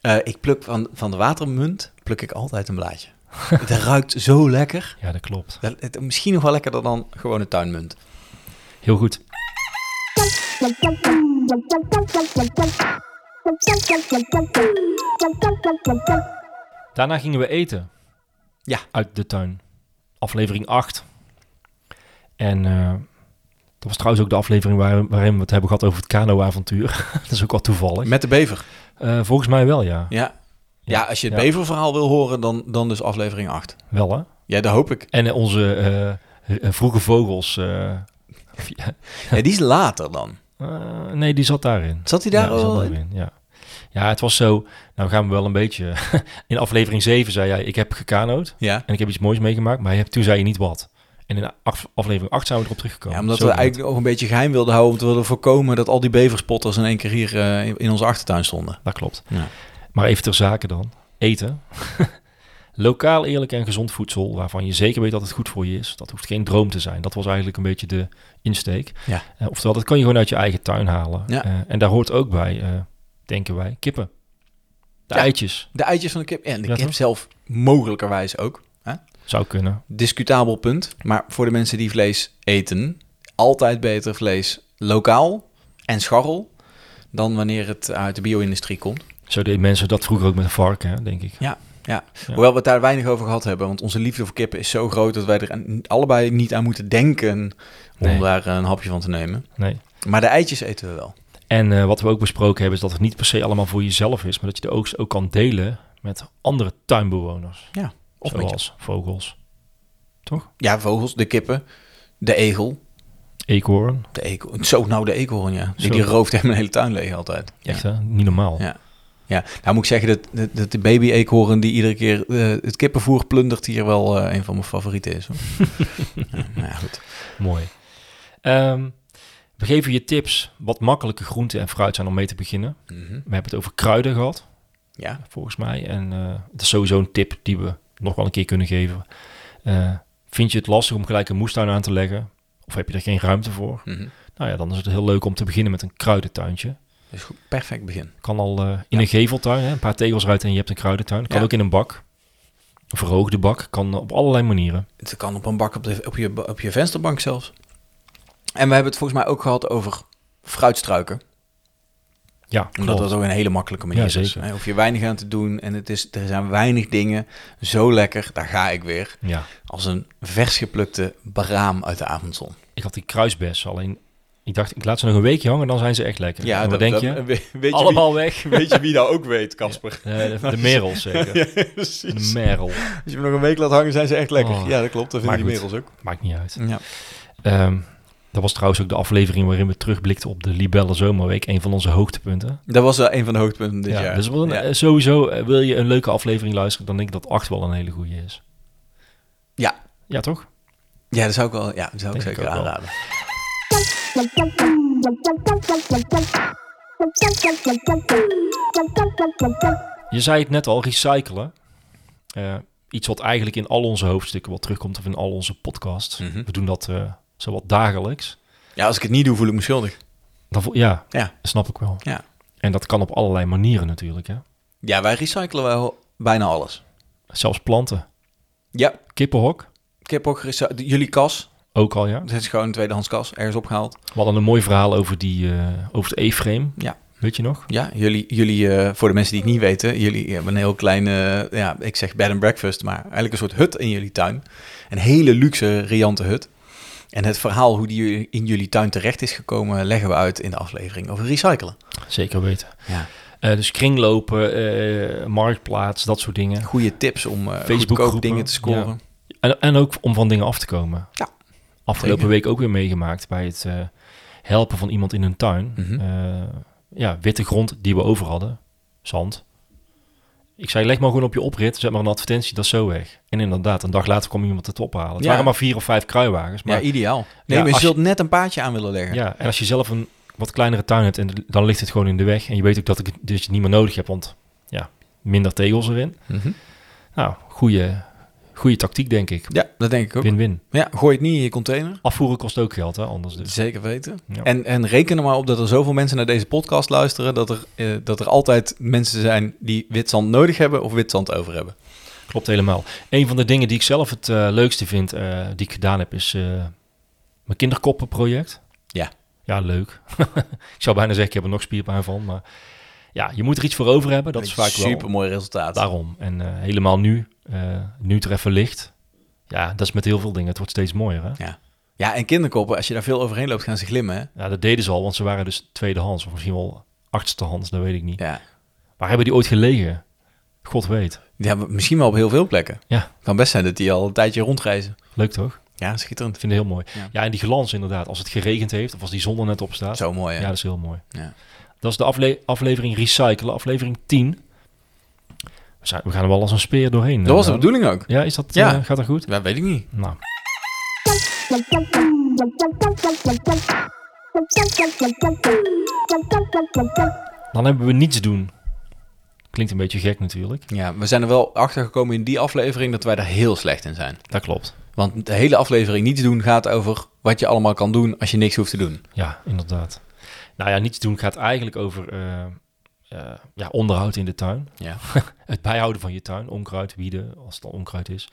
Speaker 1: Eh, ik pluk van, van de watermunt, pluk ik altijd een blaadje. het ruikt zo lekker.
Speaker 2: Ja, dat klopt.
Speaker 1: Wel, het- Misschien nog wel lekkerder dan gewone tuinmunt.
Speaker 2: Heel goed. Daarna gingen we eten.
Speaker 1: Ja.
Speaker 2: Uit de tuin. Aflevering 8. En eh, dat was trouwens ook de aflevering waar- waarin we het hebben gehad over het kanoavontuur. dat is ook wel toevallig.
Speaker 1: Met de bever.
Speaker 2: Eh, volgens mij wel, ja.
Speaker 1: Ja, ja als je het
Speaker 2: Ja.
Speaker 1: beververhaal wil horen, dan, dan dus aflevering 8.
Speaker 2: Wel, hè?
Speaker 1: Ja, dat hoop ik.
Speaker 2: En eh, onze eh, eh, vroege vogels. eh, of ja,
Speaker 1: Ja, die is later dan.
Speaker 2: eh, nee, die zat daarin.
Speaker 1: Zat hij daar
Speaker 2: ja, die zat
Speaker 1: al in?
Speaker 2: daarin, Ja. ja, het was zo. Nou gaan we wel een beetje... in aflevering 7 zei jij, ik heb gekanoot.
Speaker 1: Ja.
Speaker 2: En ik heb iets moois meegemaakt. Maar je hebt, toen zei je niet wat. En in af- aflevering 8 zijn we erop teruggekomen.
Speaker 1: ja, omdat
Speaker 2: Zo
Speaker 1: we
Speaker 2: ging het.
Speaker 1: eigenlijk ook een beetje geheim wilden houden... om te willen voorkomen dat al die beverspotters in één keer hier eh, in- in onze achtertuin stonden.
Speaker 2: Dat klopt.
Speaker 1: Ja.
Speaker 2: Maar even ter zake dan. Eten. Lokaal, eerlijk en gezond voedsel, waarvan je zeker weet dat het goed voor je is. Dat hoeft geen droom te zijn. Dat was eigenlijk een beetje de insteek.
Speaker 1: Ja.
Speaker 2: Eh, oftewel, dat kan je gewoon uit je eigen tuin halen.
Speaker 1: Ja.
Speaker 2: Eh, en daar hoort ook bij, eh, denken wij, kippen. De
Speaker 1: Ja.
Speaker 2: eitjes.
Speaker 1: De eitjes van de kip. En de
Speaker 2: Ja,
Speaker 1: kip
Speaker 2: toch?
Speaker 1: zelf mogelijkerwijs ook.
Speaker 2: Zou kunnen.
Speaker 1: Discutabel punt. Maar voor de mensen die vlees eten... altijd beter vlees lokaal en scharrel... dan wanneer het uit de bio-industrie komt.
Speaker 2: Zo deden mensen dat vroeger ook met een varken, hè, denk ik. Ja.
Speaker 1: Hoewel we het daar weinig over gehad hebben... want onze liefde voor kippen is zo groot... dat wij er aan- allebei niet aan moeten denken... om
Speaker 2: Nee.
Speaker 1: daar eh, een hapje van te nemen.
Speaker 2: Nee.
Speaker 1: Maar de eitjes eten we wel.
Speaker 2: En eh, wat we ook besproken hebben, is dat het niet per se allemaal voor jezelf is. Maar dat je de oogst ook kan delen met andere tuinbewoners.
Speaker 1: Of met je-
Speaker 2: zoals vogels,
Speaker 1: Ja, vogels, de kippen, de egel.
Speaker 2: eekhoorn.
Speaker 1: De eekhoorn. Zo, nou de eekhoorn, ja. Die,
Speaker 2: Zo.
Speaker 1: die rooft hem mijn hele tuin leeg altijd.
Speaker 2: Echt,
Speaker 1: Ja.
Speaker 2: hè? Niet normaal.
Speaker 1: Ja. ja, nou moet ik zeggen dat, dat, dat de baby-eekhoorn die iedere keer eh, het kippenvoer plundert hier wel eh, een van mijn favorieten is. Hoor. ja, nou ja, goed.
Speaker 2: Mooi. Ehm, we geven je tips wat makkelijke groenten en fruit zijn om mee te beginnen.
Speaker 1: Mhm.
Speaker 2: We hebben het over kruiden gehad,
Speaker 1: Ja,
Speaker 2: volgens mij. En eh dat is sowieso een tip die we nog wel een keer kunnen geven. Eh, vind je het lastig om gelijk een moestuin aan te leggen? Of heb je er geen ruimte voor?
Speaker 1: mhm.
Speaker 2: Nou ja, dan is het heel leuk om te beginnen met een kruidentuintje.
Speaker 1: Dus goed, perfect begin.
Speaker 2: Kan al eh, in
Speaker 1: Ja.
Speaker 2: een geveltuin, hè, een paar tegels eruit en je hebt een kruidentuin. Kan
Speaker 1: Ja.
Speaker 2: ook in een bak. Een verhoogde bak. Kan op allerlei manieren.
Speaker 1: Het kan op een bak op, de, op, je, op je vensterbank zelfs. En we hebben het volgens mij ook gehad over fruitstruiken.
Speaker 2: Ja,
Speaker 1: Omdat
Speaker 2: klopt.
Speaker 1: dat ook een hele makkelijke manier
Speaker 2: Ja,
Speaker 1: is.
Speaker 2: zeker.
Speaker 1: Hè, Hoef je weinig aan te doen. En het is, er zijn weinig dingen zo lekker, daar ga ik weer.
Speaker 2: Ja.
Speaker 1: Als een vers geplukte braam uit de avondzon.
Speaker 2: Ik had die kruisbessen, alleen ik dacht, ik laat ze nog een weekje hangen, dan zijn ze echt lekker. Ja,
Speaker 1: dat-
Speaker 2: dat denk
Speaker 1: dat-
Speaker 2: je.
Speaker 1: Weet, weet je
Speaker 2: Allemaal weg.
Speaker 1: Wie, weet je wie dat ook weet, Casper?
Speaker 2: Eh, de, de merel zeker.
Speaker 1: Ja,
Speaker 2: De
Speaker 1: precies.
Speaker 2: merel.
Speaker 1: Als je hem nog een week laat hangen, zijn ze echt lekker.
Speaker 2: Oh.
Speaker 1: Ja, dat klopt. Dat
Speaker 2: Maar
Speaker 1: vinden die
Speaker 2: goed.
Speaker 1: merels ook.
Speaker 2: Maakt niet uit.
Speaker 1: Ja.
Speaker 2: Ehm, dat was trouwens ook de aflevering waarin we terugblikten op de Libelle Zomerweek. Een van onze hoogtepunten.
Speaker 1: Dat was wel een van de hoogtepunten dit jaar.
Speaker 2: Dus wel een-
Speaker 1: ja.
Speaker 2: eh, sowieso eh, wil je een leuke aflevering luisteren, dan denk ik dat 8 wel een hele goede is.
Speaker 1: Ja.
Speaker 2: Ja, toch?
Speaker 1: Ja, dat zou ik wel ja, dat zou ik
Speaker 2: Denk
Speaker 1: zeker
Speaker 2: ik ook wel.
Speaker 1: aanraden.
Speaker 2: Je zei het net al, recyclen. Eh, iets wat eigenlijk in al onze hoofdstukken wel terugkomt of in al onze podcasts.
Speaker 1: Mhm.
Speaker 2: We doen dat eh zowat dagelijks.
Speaker 1: Ja, als ik het niet doe, voel ik me schuldig.
Speaker 2: Dan vo- ja,
Speaker 1: Ja.
Speaker 2: snap ik wel.
Speaker 1: Ja.
Speaker 2: En dat kan op allerlei manieren natuurlijk. Hè?
Speaker 1: Ja, wij recyclen wel bijna alles.
Speaker 2: Zelfs planten.
Speaker 1: Ja,
Speaker 2: Kippenhok,
Speaker 1: ik heb ook gerecy- jullie kas.
Speaker 2: ook al ja.
Speaker 1: Het is gewoon een tweedehands kas, ergens opgehaald.
Speaker 2: We hadden een mooi verhaal over, die, eh, over het E-frame.
Speaker 1: Ja.
Speaker 2: Weet je nog?
Speaker 1: Ja, jullie, jullie eh, voor de mensen die het niet weten, jullie hebben een heel klein, eh, ja, ik zeg bed and breakfast, maar eigenlijk een soort hut in jullie tuin. Een hele luxe, riante hut. En het verhaal hoe die in jullie tuin terecht is gekomen, leggen we uit in de aflevering over recyclen.
Speaker 2: Zeker weten.
Speaker 1: Ja.
Speaker 2: Eh, dus kringlopen, eh, marktplaats, dat soort dingen.
Speaker 1: Goede tips om eh goedkoop
Speaker 2: Facebookgroepen,
Speaker 1: dingen te scoren.
Speaker 2: En, en ook om van dingen af te komen.
Speaker 1: Ja,
Speaker 2: Afgelopen
Speaker 1: zeker.
Speaker 2: week ook weer meegemaakt bij het eh, helpen van iemand in een tuin.
Speaker 1: Mhm.
Speaker 2: Eh, ja, witte grond die we over hadden. Zand. Ik zei, leg maar gewoon op je oprit. Zet maar een advertentie, dat is zo weg. En inderdaad, een dag later kwam iemand het ophalen. Het
Speaker 1: Ja.
Speaker 2: waren maar vier of vijf kruiwagens. Maar
Speaker 1: ja, ideaal. Nee,
Speaker 2: Ja,
Speaker 1: maar je
Speaker 2: als
Speaker 1: zult net een paadje aan willen leggen.
Speaker 2: Ja, en als je zelf een wat kleinere tuin hebt, en de- dan ligt het gewoon in de weg. En je weet ook dat ik het, dat je het niet meer nodig heb, want ja, minder tegels erin.
Speaker 1: Mhm.
Speaker 2: Nou, goede, goede tactiek, denk ik.
Speaker 1: Ja, dat denk ik ook.
Speaker 2: Win-win.
Speaker 1: Ja, gooi het niet in je container.
Speaker 2: Afvoeren kost ook geld, hè? anders dus.
Speaker 1: Zeker weten.
Speaker 2: Ja.
Speaker 1: En, en reken er maar op dat er zoveel mensen naar deze podcast luisteren... dat er, eh, dat er altijd mensen zijn die witzand nodig hebben of witzand over hebben.
Speaker 2: Klopt helemaal. Een van de dingen die ik zelf het eh, leukste vind, eh, die ik gedaan heb, is eh, mijn kinderkoppenproject.
Speaker 1: Ja.
Speaker 2: Ja, leuk. ik zou bijna zeggen, ik heb er nog spierpijn van, maar ja, je moet er iets voor over hebben. Dat is vaak wel...
Speaker 1: Super mooi resultaat.
Speaker 2: Daarom. En eh, helemaal nu, eh, nu het er even ligt. Ja, dat is met heel veel dingen. Het wordt steeds mooier, hè?
Speaker 1: Ja, en kinderkoppen, als je daar veel overheen loopt, gaan ze glimmen. Hè?
Speaker 2: Ja, dat deden ze al, want ze waren dus tweedehands. Of misschien wel achtstehands, dat weet ik niet.
Speaker 1: Ja.
Speaker 2: Waar hebben die ooit gelegen? God weet.
Speaker 1: ja, maar misschien wel op heel veel plekken.
Speaker 2: Ja.
Speaker 1: Kan best zijn dat die al een tijdje rondreizen.
Speaker 2: Leuk toch?
Speaker 1: Ja, schitterend.
Speaker 2: Ik vind het heel mooi.
Speaker 1: Ja.
Speaker 2: Ja. en die glans inderdaad. Als het geregend heeft of als die zon er net op staat.
Speaker 1: Zo mooi,
Speaker 2: ja.
Speaker 1: hè?
Speaker 2: dat is heel mooi.
Speaker 1: Ja.
Speaker 2: Dat is de afle- aflevering Recyclen, aflevering 10. We, zijn, we gaan er wel als een speer doorheen.
Speaker 1: Dat was de
Speaker 2: eh,
Speaker 1: bedoeling ook.
Speaker 2: Ja, is dat,
Speaker 1: Ja.
Speaker 2: eh, gaat dat goed?
Speaker 1: Dat weet ik niet.
Speaker 2: Nou, dan hebben we niets doen. Klinkt een beetje gek natuurlijk.
Speaker 1: Ja, we zijn er wel achter gekomen in die aflevering dat wij daar heel slecht in zijn.
Speaker 2: Dat klopt.
Speaker 1: Want de hele aflevering niets doen gaat over wat je allemaal kan doen als je niks hoeft te doen.
Speaker 2: Ja, inderdaad. Nou ja, niets doen gaat eigenlijk over eh, eh, ja, onderhoud in de tuin.
Speaker 1: Ja.
Speaker 2: het bijhouden van je tuin, onkruid, wieden, als het al onkruid is.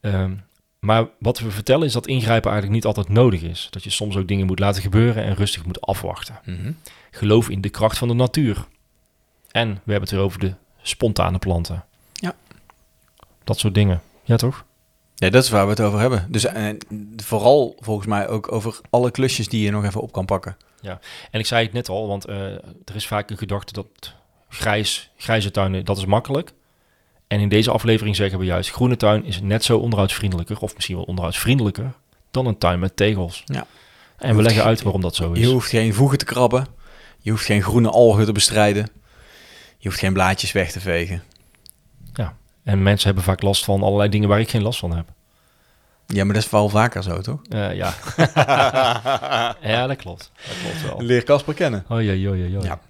Speaker 2: Ehm, maar wat we vertellen is dat ingrijpen eigenlijk niet altijd nodig is. Dat je soms ook dingen moet laten gebeuren en rustig moet afwachten.
Speaker 1: Mhm.
Speaker 2: Geloof in de kracht van de natuur. En we hebben het weer over de spontane planten.
Speaker 1: Ja.
Speaker 2: Dat soort dingen. Ja, toch?
Speaker 1: Ja, dat is waar we het over hebben. Dus eh, vooral volgens mij ook over alle klusjes die je nog even op kan pakken.
Speaker 2: En ik zei het net al, want eh, er is vaak een gedachte dat grijs, grijze tuinen, dat is makkelijk. En in deze aflevering zeggen we juist, groene tuin is net zo onderhoudsvriendelijker, of misschien wel onderhoudsvriendelijker, dan een tuin met tegels.
Speaker 1: Ja.
Speaker 2: En we leggen uit waarom dat zo
Speaker 1: Je
Speaker 2: is.
Speaker 1: hoeft geen voegen te krabben. Je hoeft geen groene algen te bestrijden. Je hoeft geen blaadjes weg te vegen.
Speaker 2: En mensen hebben vaak last van allerlei dingen waar ik geen last van heb.
Speaker 1: Ja, maar dat is wel vaker zo, toch?
Speaker 2: Eh, ja. ja, dat klopt. Dat klopt wel.
Speaker 1: Leer Casper kennen.
Speaker 2: Oh ja, ja, ja,
Speaker 1: Ja.
Speaker 2: ja.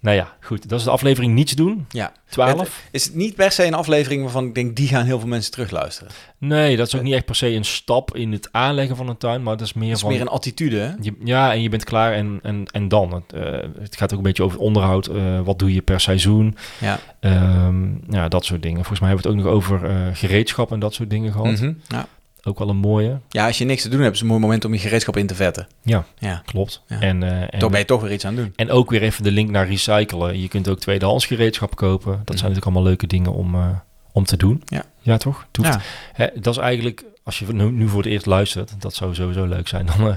Speaker 2: Nou ja, goed. Dat is de aflevering Niets doen,
Speaker 1: Ja.
Speaker 2: 12.
Speaker 1: Is het niet per se een aflevering waarvan ik denk, die gaan heel veel mensen terugluisteren.
Speaker 2: Nee, dat is ook niet echt per se een stap in het aanleggen van een tuin, maar dat is meer
Speaker 1: Het is
Speaker 2: van...
Speaker 1: meer een attitude, hè?
Speaker 2: Je- ja, en je bent klaar en, en, en dan. Het, eh, het gaat ook een beetje over onderhoud. eh, wat doe je per seizoen?
Speaker 1: Ja.
Speaker 2: Ehm, ja, dat soort dingen. Volgens mij hebben we het ook nog over eh, gereedschap en dat soort dingen gehad.
Speaker 1: Mhm. ja.
Speaker 2: Ook wel een mooie.
Speaker 1: ja, als je niks te doen hebt, is het een mooi moment om je gereedschap in te vetten.
Speaker 2: Ja,
Speaker 1: Ja.
Speaker 2: klopt.
Speaker 1: Ja.
Speaker 2: En, eh, en,
Speaker 1: Toch ben je toch weer iets aan het doen.
Speaker 2: en ook weer even de link naar recyclen. Je kunt ook tweedehands gereedschap kopen. Dat zijn natuurlijk allemaal leuke dingen om, eh, om te doen.
Speaker 1: Mhm. Ja.
Speaker 2: ja toch? Het hoeft
Speaker 1: Ja.
Speaker 2: Hè, dat is eigenlijk, als je nu, nu voor het eerst luistert, dat zou sowieso leuk zijn. Dan, eh,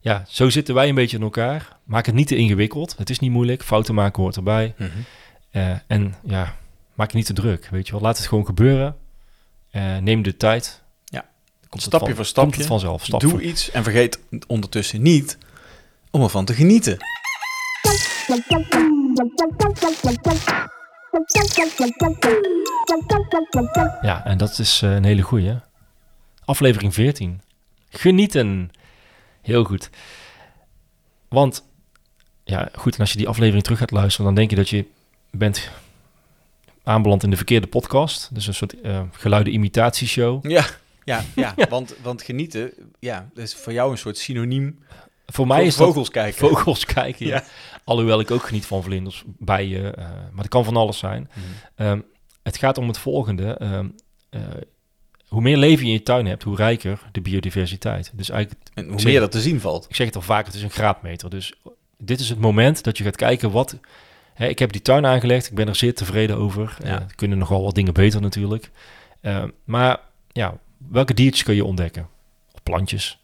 Speaker 2: ja, zo zitten wij een beetje in elkaar. Maak het niet te ingewikkeld. Het is niet moeilijk. Fouten maken hoort erbij.
Speaker 1: Mhm.
Speaker 2: Eh, en ja, maak je niet te druk. Weet je wel, laat het gewoon gebeuren. Eh, neem de tijd.
Speaker 1: Ja.
Speaker 2: Komt het
Speaker 1: Stapje
Speaker 2: van-
Speaker 1: voor stapje.
Speaker 2: Komt het vanzelf. Stap
Speaker 1: Doe
Speaker 2: voor-
Speaker 1: iets en vergeet ondertussen niet om ervan te genieten.
Speaker 2: Ja, en dat is eh, een hele goeie. hè? Aflevering 14. Genieten. Heel goed. Want, ja, goed, en als je die aflevering terug gaat luisteren, dan denk je dat je bent aanbeland in de verkeerde podcast. Dus een soort eh geluiden imitatieshow.
Speaker 1: Ja, ja, ja. Want, want genieten, ja, dat is voor jou een soort synoniem
Speaker 2: Voor mij
Speaker 1: voor
Speaker 2: is dat
Speaker 1: vogels kijken.
Speaker 2: vogels kijken. Ja.
Speaker 1: Ja.
Speaker 2: Alhoewel ik ook geniet van vlinders, bijen, eh maar dat kan van alles zijn.
Speaker 1: Mhm.
Speaker 2: Ehm, het gaat om het volgende. ehm, eh, hoe meer leven je in je tuin hebt, hoe rijker de biodiversiteit. Dus eigenlijk,
Speaker 1: En hoe meer dat te zien valt.
Speaker 2: ik zeg het al vaak, het is een graadmeter. Dus dit is het moment dat je gaat kijken wat... Hè, ik heb die tuin aangelegd, ik ben er zeer tevreden over.
Speaker 1: Ja.
Speaker 2: Eh, er kunnen nogal wat dingen beter natuurlijk. Ehm, maar ja, welke diertjes kun je ontdekken? Of plantjes?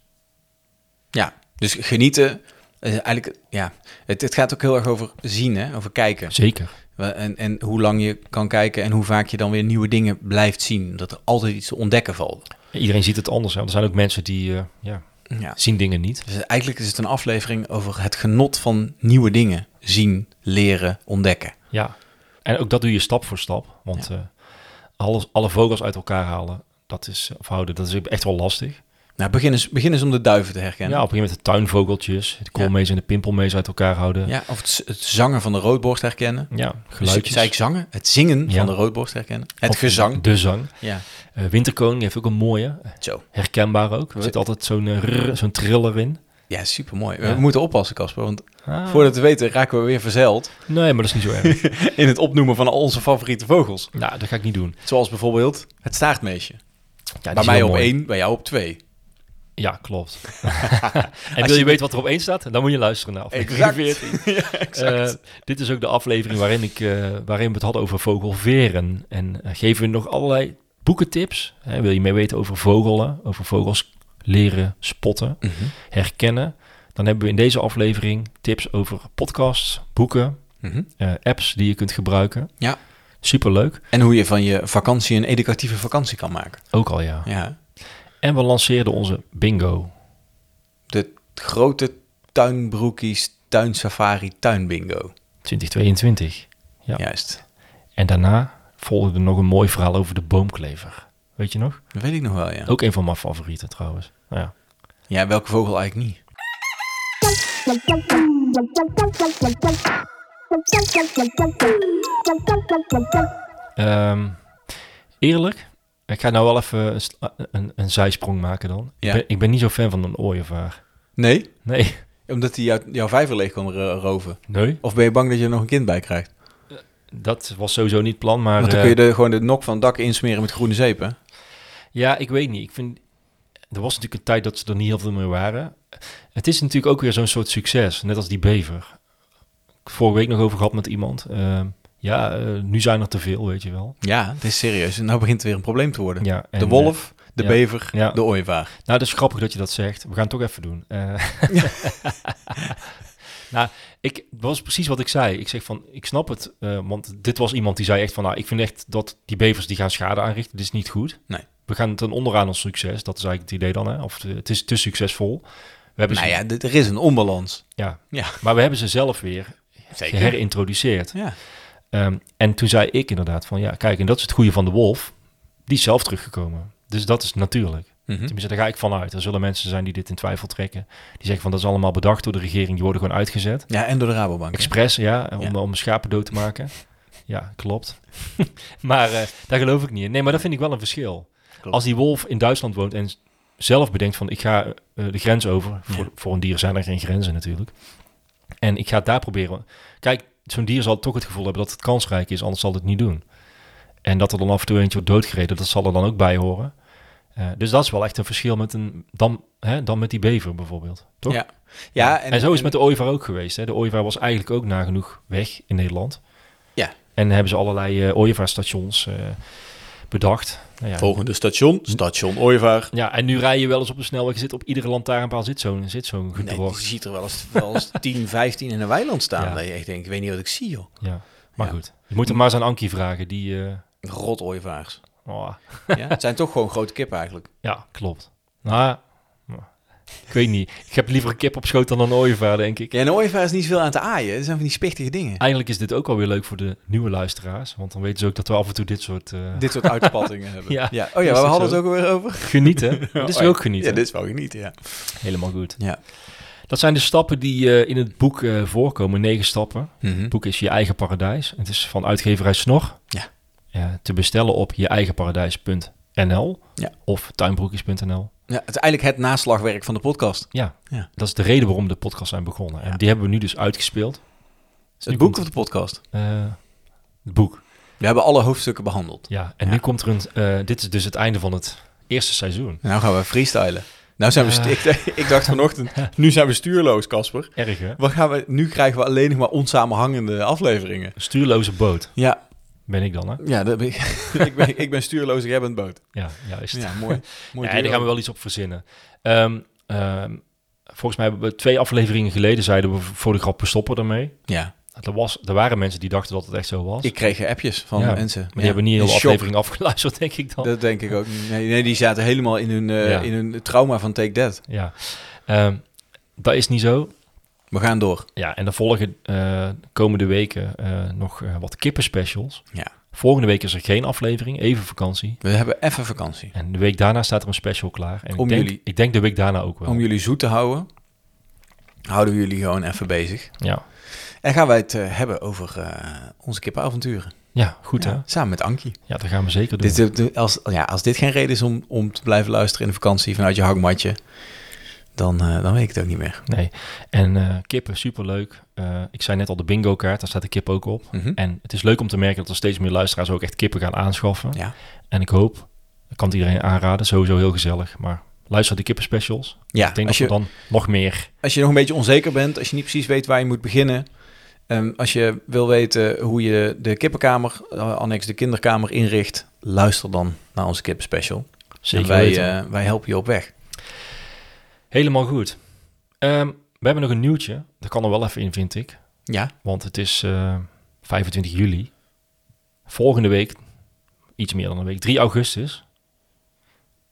Speaker 1: Dus genieten eh, eigenlijk, ja, het, het gaat ook heel erg over zien, hè? over kijken.
Speaker 2: Zeker.
Speaker 1: Wa- En, en hoe lang je kan kijken en hoe vaak je dan weer nieuwe dingen blijft zien. Dat er altijd iets te ontdekken valt.
Speaker 2: Iedereen ziet het anders. Hè? Want Er zijn ook mensen die eh, ja,
Speaker 1: Ja.
Speaker 2: zien dingen niet.
Speaker 1: Dus eigenlijk is het een aflevering over het genot van nieuwe dingen zien, leren, ontdekken.
Speaker 2: Ja. En ook dat doe je stap voor stap. Want eh, alles, alle vogels uit elkaar halen, dat is, of houden, dat is echt wel lastig.
Speaker 1: Nou, begin eens, begin eens om de duiven te
Speaker 2: Ja,
Speaker 1: herkennen.
Speaker 2: op een gegeven moment de tuinvogeltjes, de koolmees en de pimpelmees uit elkaar houden. Ja,
Speaker 1: Ja, of het, z- het zangen van de roodborst herkennen.
Speaker 2: geluidjes.
Speaker 1: Dus, zei ik zangen? Het zingen
Speaker 2: Ja.
Speaker 1: van de roodborst herkennen. Het
Speaker 2: Of
Speaker 1: gezang.
Speaker 2: De zang.
Speaker 1: Ja,
Speaker 2: Eh winterkoning heeft ook een mooie,
Speaker 1: zo.
Speaker 2: herkenbaar ook. Er zit altijd zo'n eh, rrr, zo'n triller in.
Speaker 1: Ja, supermooi. We
Speaker 2: Ja.
Speaker 1: moeten oppassen, Casper, want
Speaker 2: Ah,
Speaker 1: voordat we weten raken we weer verzeild
Speaker 2: Nee, maar dat is niet zo erg.
Speaker 1: in het opnoemen van al onze favoriete vogels.
Speaker 2: nou, dat ga ik niet doen.
Speaker 1: Zoals bijvoorbeeld het staartmeesje.
Speaker 2: Ja, die
Speaker 1: bij
Speaker 2: is
Speaker 1: mij
Speaker 2: heel
Speaker 1: op
Speaker 2: mooi.
Speaker 1: één, bij jou op twee.
Speaker 2: Ja, klopt. en
Speaker 1: je
Speaker 2: wil je
Speaker 1: dit-
Speaker 2: weten wat er op één staat? Dan moet je luisteren naar aflevering
Speaker 1: Exact.
Speaker 2: 14.
Speaker 1: ja, exact.
Speaker 2: Eh, dit is ook de aflevering waarin, ik, eh, waarin we het hadden over vogelveren. En eh, geven we nog allerlei boekentips. Hè, wil je meer weten over vogelen, over vogels leren spotten,
Speaker 1: Mhm.
Speaker 2: herkennen. Dan hebben we in deze aflevering tips over podcasts, boeken,
Speaker 1: Mhm.
Speaker 2: eh, apps die je kunt gebruiken.
Speaker 1: Ja.
Speaker 2: Superleuk.
Speaker 1: En hoe je van je vakantie een educatieve vakantie kan maken.
Speaker 2: Ook al ja.
Speaker 1: Ja,
Speaker 2: En we lanceerden onze bingo.
Speaker 1: de grote tuinbroekies, tuinsafari, tuinbingo.
Speaker 2: 2022. Ja.
Speaker 1: Juist.
Speaker 2: En daarna volgde nog een mooi verhaal over de boomklever. Weet je nog?
Speaker 1: Dat weet ik nog wel, ja.
Speaker 2: Ook een van mijn favorieten trouwens. Nou ja.
Speaker 1: Ja, welke vogel eigenlijk niet?
Speaker 2: Ehm, eerlijk, ik ga nou wel even een, sla- een, een zijsprong maken dan.
Speaker 1: Ja.
Speaker 2: Ik, ben, ik ben niet zo fan van een ooievaar.
Speaker 1: Nee?
Speaker 2: Nee.
Speaker 1: Omdat hij jou- jouw vijver leeg kan ro- roven.
Speaker 2: Nee?
Speaker 1: Of ben je bang dat je er nog een kind bij krijgt?
Speaker 2: Dat was sowieso niet het plan, maar...
Speaker 1: Want dan
Speaker 2: eh,
Speaker 1: kun je de, gewoon de nok van het dak insmeren met groene zeep, hè?
Speaker 2: Ja, ik weet niet. Ik vind... Er was natuurlijk een tijd dat ze er niet heel veel meer waren. Het is natuurlijk ook weer zo'n soort succes, net als die bever. Ik vorige week nog over gehad met iemand. Ehm, ja, eh, nu zijn er te veel, weet je wel.
Speaker 1: Ja, het is serieus. En nou begint het weer een probleem te worden.
Speaker 2: Ja, en, eh,
Speaker 1: de wolf, de
Speaker 2: ja.
Speaker 1: bever,
Speaker 2: Ja.
Speaker 1: de ooievaar.
Speaker 2: eh, nou, dat is grappig dat je dat zegt. We gaan het toch even doen. Eh, nou, ik, dat was precies wat ik zei. Ik zeg van, ik snap het. eh, want dit was iemand die zei echt van, nou, ik vind echt dat die bevers die gaan schade aanrichten. Dit is niet goed.
Speaker 1: Nee.
Speaker 2: We gaan ten onder aan ons succes. Dat is eigenlijk het idee dan, hè. Of eh, het, het is te succesvol. We hebben
Speaker 1: Nou
Speaker 2: ze-
Speaker 1: ja, dit- er is een onbalans.
Speaker 2: Ja.
Speaker 1: Ja.
Speaker 2: Maar we hebben ze zelf weer
Speaker 1: Zeker.
Speaker 2: geherintroduceerd.
Speaker 1: Ja.
Speaker 2: Ehm, en toen zei ik inderdaad van, ja, kijk, en dat is het goede van de wolf. Die is zelf teruggekomen. Dus dat is natuurlijk.
Speaker 1: Mhm.
Speaker 2: Tenminste, daar ga ik vanuit. Er zullen mensen zijn die dit in twijfel trekken. Die zeggen van, dat is allemaal bedacht door de regering. Die worden gewoon uitgezet.
Speaker 1: Ja, en door de Rabobank. hè?
Speaker 2: Expres, ja, om,
Speaker 1: Ja.
Speaker 2: om schapen dood te maken. ja, klopt. maar eh, daar geloof ik niet in. Nee, maar dat vind ik wel een verschil.
Speaker 1: Klopt.
Speaker 2: Als die wolf in Duitsland woont en z- zelf bedenkt van ik ga eh, de grens over. Voor,
Speaker 1: Ja.
Speaker 2: voor een dier zijn er geen grenzen natuurlijk. En ik ga het daar proberen. Kijk, zo'n dier zal toch het gevoel hebben dat het kansrijk is, anders zal het niet doen. En dat er dan af en toe eentje wordt doodgereden, dat zal er dan ook bij horen. Eh, dus dat is wel echt een verschil met een, dan, hè, dan met die bever bijvoorbeeld. Toch?
Speaker 1: Ja. Ja, en,
Speaker 2: En, zo is het met de ooievaar ook geweest. Hè? De ooievaar was eigenlijk ook nagenoeg weg in Nederland.
Speaker 1: Ja.
Speaker 2: En hebben ze allerlei eh ooievaarstations eh, bedacht. Nou ja,
Speaker 1: Volgende station, station ooievaar.
Speaker 2: ja, en nu rij je wel eens op de snelweg. Er Zit op iedere lantaarnpaal zit zo'n zit zo'n
Speaker 1: Nee, je
Speaker 2: gedrocht.
Speaker 1: ziet er wel eens, wel eens 10, 15 in een weiland staan.
Speaker 2: Ja.
Speaker 1: Dat je echt denkt, ik weet niet wat ik zie, joh.
Speaker 2: ja. Maar
Speaker 1: Ja.
Speaker 2: goed, je moet hem maar eens aan Ankie vragen. Die, eh,
Speaker 1: Rot ooievaars.
Speaker 2: oh,
Speaker 1: ja? Het zijn toch gewoon grote kippen eigenlijk.
Speaker 2: ja, klopt. Nou, ik weet niet. Ik heb liever een kip op schoot dan een ooievaar, denk ik.
Speaker 1: Ja, en een ooievaar is niet veel aan te aaien. Dat zijn van die spichtige dingen.
Speaker 2: Eigenlijk is dit ook wel weer leuk voor de nieuwe luisteraars. Want dan weten ze ook dat we af en toe dit soort eh,
Speaker 1: Dit soort uitspattingen hebben.
Speaker 2: Ja.
Speaker 1: Oh
Speaker 2: Is
Speaker 1: ja, we
Speaker 2: dat
Speaker 1: hadden
Speaker 2: zo?
Speaker 1: het ook alweer over.
Speaker 2: genieten. Dit is
Speaker 1: Oh ja.
Speaker 2: ook genieten.
Speaker 1: Ja, dit is wel genieten, ja.
Speaker 2: Helemaal goed.
Speaker 1: Ja.
Speaker 2: Dat zijn de stappen die eh, in het boek eh, voorkomen. Negen stappen. Het boek is Je Eigen Paradijs. Het is van uitgeverij Snor.
Speaker 1: Ja.
Speaker 2: Eh, te bestellen op jeeigenparadijs.nl
Speaker 1: Ja.
Speaker 2: of tuinbroekjes.nl.
Speaker 1: Ja, het is eigenlijk het naslagwerk van de podcast.
Speaker 2: Ja.
Speaker 1: Ja.
Speaker 2: dat is de reden waarom de podcast zijn begonnen. En
Speaker 1: Ja.
Speaker 2: die hebben we nu dus uitgespeeld. Dus nu
Speaker 1: Het boek
Speaker 2: komt-
Speaker 1: of de podcast?
Speaker 2: eh, het boek,
Speaker 1: We hebben alle hoofdstukken behandeld.
Speaker 2: ja. En
Speaker 1: Ja.
Speaker 2: nu komt er een... eh, dit is dus het einde van het eerste seizoen.
Speaker 1: Nou gaan we freestylen. Nou zijn we... stu- ik, ik dacht vanochtend, nu zijn we stuurloos, Casper.
Speaker 2: Erg, hè?
Speaker 1: Wat gaan we, nu krijgen we alleen nog maar onsamenhangende afleveringen.
Speaker 2: Stuurloze boot
Speaker 1: Ja,
Speaker 2: ben ik dan, hè?
Speaker 1: ja dat ben ik, ik, ben, ik ben stuurloos, jij bent boot.
Speaker 2: Ja, juist.
Speaker 1: Ja, mooi. mooi
Speaker 2: Ja, daar gaan we
Speaker 1: duo.
Speaker 2: wel iets op verzinnen. Ehm, ehm, volgens mij hebben we twee afleveringen geleden zeiden we voor de grap, we stoppen ermee.
Speaker 1: Ja,
Speaker 2: Er, was, er waren mensen die dachten dat het echt zo was.
Speaker 1: ik kreeg appjes van
Speaker 2: Ja,
Speaker 1: mensen.
Speaker 2: maar die hebben niet heel de
Speaker 1: In shock.
Speaker 2: aflevering afgeluisterd, denk ik dan.
Speaker 1: Dat denk ik ook. niet. Nee, nee die zaten helemaal in hun, eh,
Speaker 2: Oh. Ja.
Speaker 1: in hun trauma van Take That.
Speaker 2: Ja. Ehm, dat is niet zo.
Speaker 1: We gaan door.
Speaker 2: Ja, en dan volgen eh, komende weken eh, nog eh, wat kippenspecials.
Speaker 1: Ja.
Speaker 2: Volgende week is er geen aflevering, even vakantie.
Speaker 1: We hebben even vakantie.
Speaker 2: En de week daarna staat er een special klaar. En
Speaker 1: Om
Speaker 2: ik, denk,
Speaker 1: jullie-
Speaker 2: ik denk de week daarna ook wel.
Speaker 1: Om jullie zoet te houden, houden we jullie gewoon even bezig.
Speaker 2: Ja.
Speaker 1: En gaan wij het eh, hebben over eh, onze kippenavonturen.
Speaker 2: ja, goed hè?
Speaker 1: Ja, Samen met Ankie.
Speaker 2: Ja, dat gaan we zeker doen.
Speaker 1: Dit, dit- als, ja, als dit geen reden is om, om te blijven luisteren in de vakantie vanuit je hangmatje, dan, eh, dan weet ik het ook niet meer.
Speaker 2: Nee. En eh, kippen, superleuk. Eh ik zei net al de bingo kaart, daar staat de kip ook op.
Speaker 1: Mhm.
Speaker 2: En het is leuk om te merken dat er steeds meer luisteraars ook echt kippen gaan aanschaffen.
Speaker 1: Ja.
Speaker 2: En ik hoop, ik kan het iedereen aanraden, sowieso heel gezellig. Maar luister die kippen specials.
Speaker 1: Ja,
Speaker 2: Ik denk
Speaker 1: als
Speaker 2: dat
Speaker 1: je,
Speaker 2: we dan nog meer.
Speaker 1: als je nog een beetje onzeker bent, als je niet precies weet waar je moet beginnen, ehm, als je wil weten hoe je de kippenkamer, eh, annex de kinderkamer inricht, luister dan naar onze kippenspecial.
Speaker 2: Zeker
Speaker 1: en wij,
Speaker 2: weten.
Speaker 1: eh, wij helpen je op weg.
Speaker 2: Helemaal goed. Ehm, we hebben nog een nieuwtje. Dat kan er wel even in, vind ik.
Speaker 1: Ja,
Speaker 2: Want het is eh, 25 juli. Volgende week, iets meer dan een week, 3 augustus,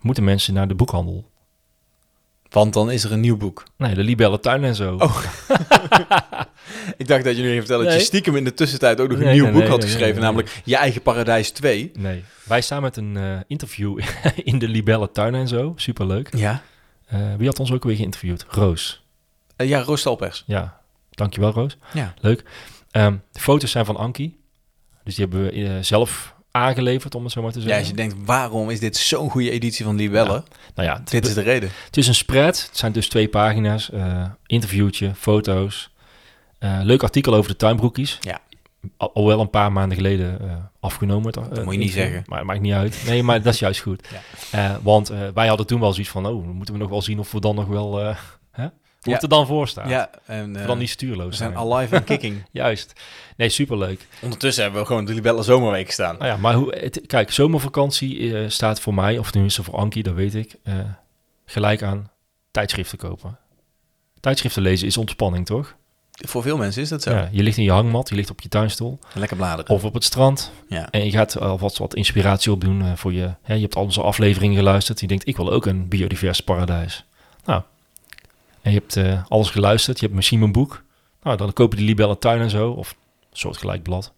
Speaker 2: moeten mensen naar de boekhandel.
Speaker 1: want dan is er een nieuw boek.
Speaker 2: Nee, de Libelle Tuin en zo.
Speaker 1: Oh, Ik dacht dat je nu ging vertellen dat
Speaker 2: Nee.
Speaker 1: je stiekem in de tussentijd ook nog een
Speaker 2: Nee,
Speaker 1: nieuw
Speaker 2: nee,
Speaker 1: boek
Speaker 2: nee,
Speaker 1: had
Speaker 2: nee,
Speaker 1: geschreven,
Speaker 2: nee, nee.
Speaker 1: namelijk Je Eigen Paradijs 2.
Speaker 2: Nee, wij staan met een eh, interview in de Libelle Tuin en zo. Superleuk.
Speaker 1: Ja.
Speaker 2: Eh, wie had ons ook weer geïnterviewd? Roos.
Speaker 1: Eh, ja, Roos Stalpers.
Speaker 2: Ja, dankjewel Roos.
Speaker 1: Ja.
Speaker 2: Leuk. Ehm, de foto's zijn van Ankie. Dus die hebben we eh, zelf aangeleverd, om het zo maar te
Speaker 1: Ja,
Speaker 2: zeggen.
Speaker 1: als je denkt, waarom is dit zo'n goede editie van Libelle?
Speaker 2: nou ja, het-
Speaker 1: Dit is de reden.
Speaker 2: Het is een spread. Het zijn dus twee pagina's. eh, interviewtje, foto's. Eh, leuk artikel over de tuinbroekies.
Speaker 1: Ja.
Speaker 2: Al, alhoewel een paar maanden geleden eh, afgenomen. het, eh,
Speaker 1: moet je niet
Speaker 2: interview.
Speaker 1: zeggen.
Speaker 2: Maar het maakt niet uit. Nee, maar dat is juist goed.
Speaker 1: Ja.
Speaker 2: Eh, want eh, wij hadden toen wel zoiets van... Oh, dan moeten we nog wel zien of we dan nog wel... eh, hè? Hoe
Speaker 1: Ja.
Speaker 2: het er dan voor staat.
Speaker 1: Ja, en
Speaker 2: Of
Speaker 1: eh,
Speaker 2: we dan niet stuurloos
Speaker 1: we
Speaker 2: zijn.
Speaker 1: zijn alive en kicking.
Speaker 2: Juist. Nee, superleuk.
Speaker 1: Ondertussen hebben we gewoon de Libelle Zomerweek staan.
Speaker 2: Nou ja, maar hoe, het, kijk, zomervakantie eh, staat voor mij... of tenminste voor Ankie, dat weet ik... eh, gelijk aan tijdschriften kopen. Tijdschriften lezen is ontspanning, toch?
Speaker 1: Voor veel mensen is dat zo.
Speaker 2: Ja, je ligt in je hangmat, je ligt op je tuinstoel
Speaker 1: Lekker bladeren.
Speaker 2: of op het strand.
Speaker 1: Ja.
Speaker 2: En je gaat alvast wat inspiratie opdoen eh, voor je. Hè, je hebt al onze afleveringen geluisterd. Je denkt, ik wil ook een biodivers paradijs. Nou, en je hebt eh, alles geluisterd. Je hebt misschien mijn boek. Nou, dan koop je die libelle tuin en zo. Of een soortgelijk blad.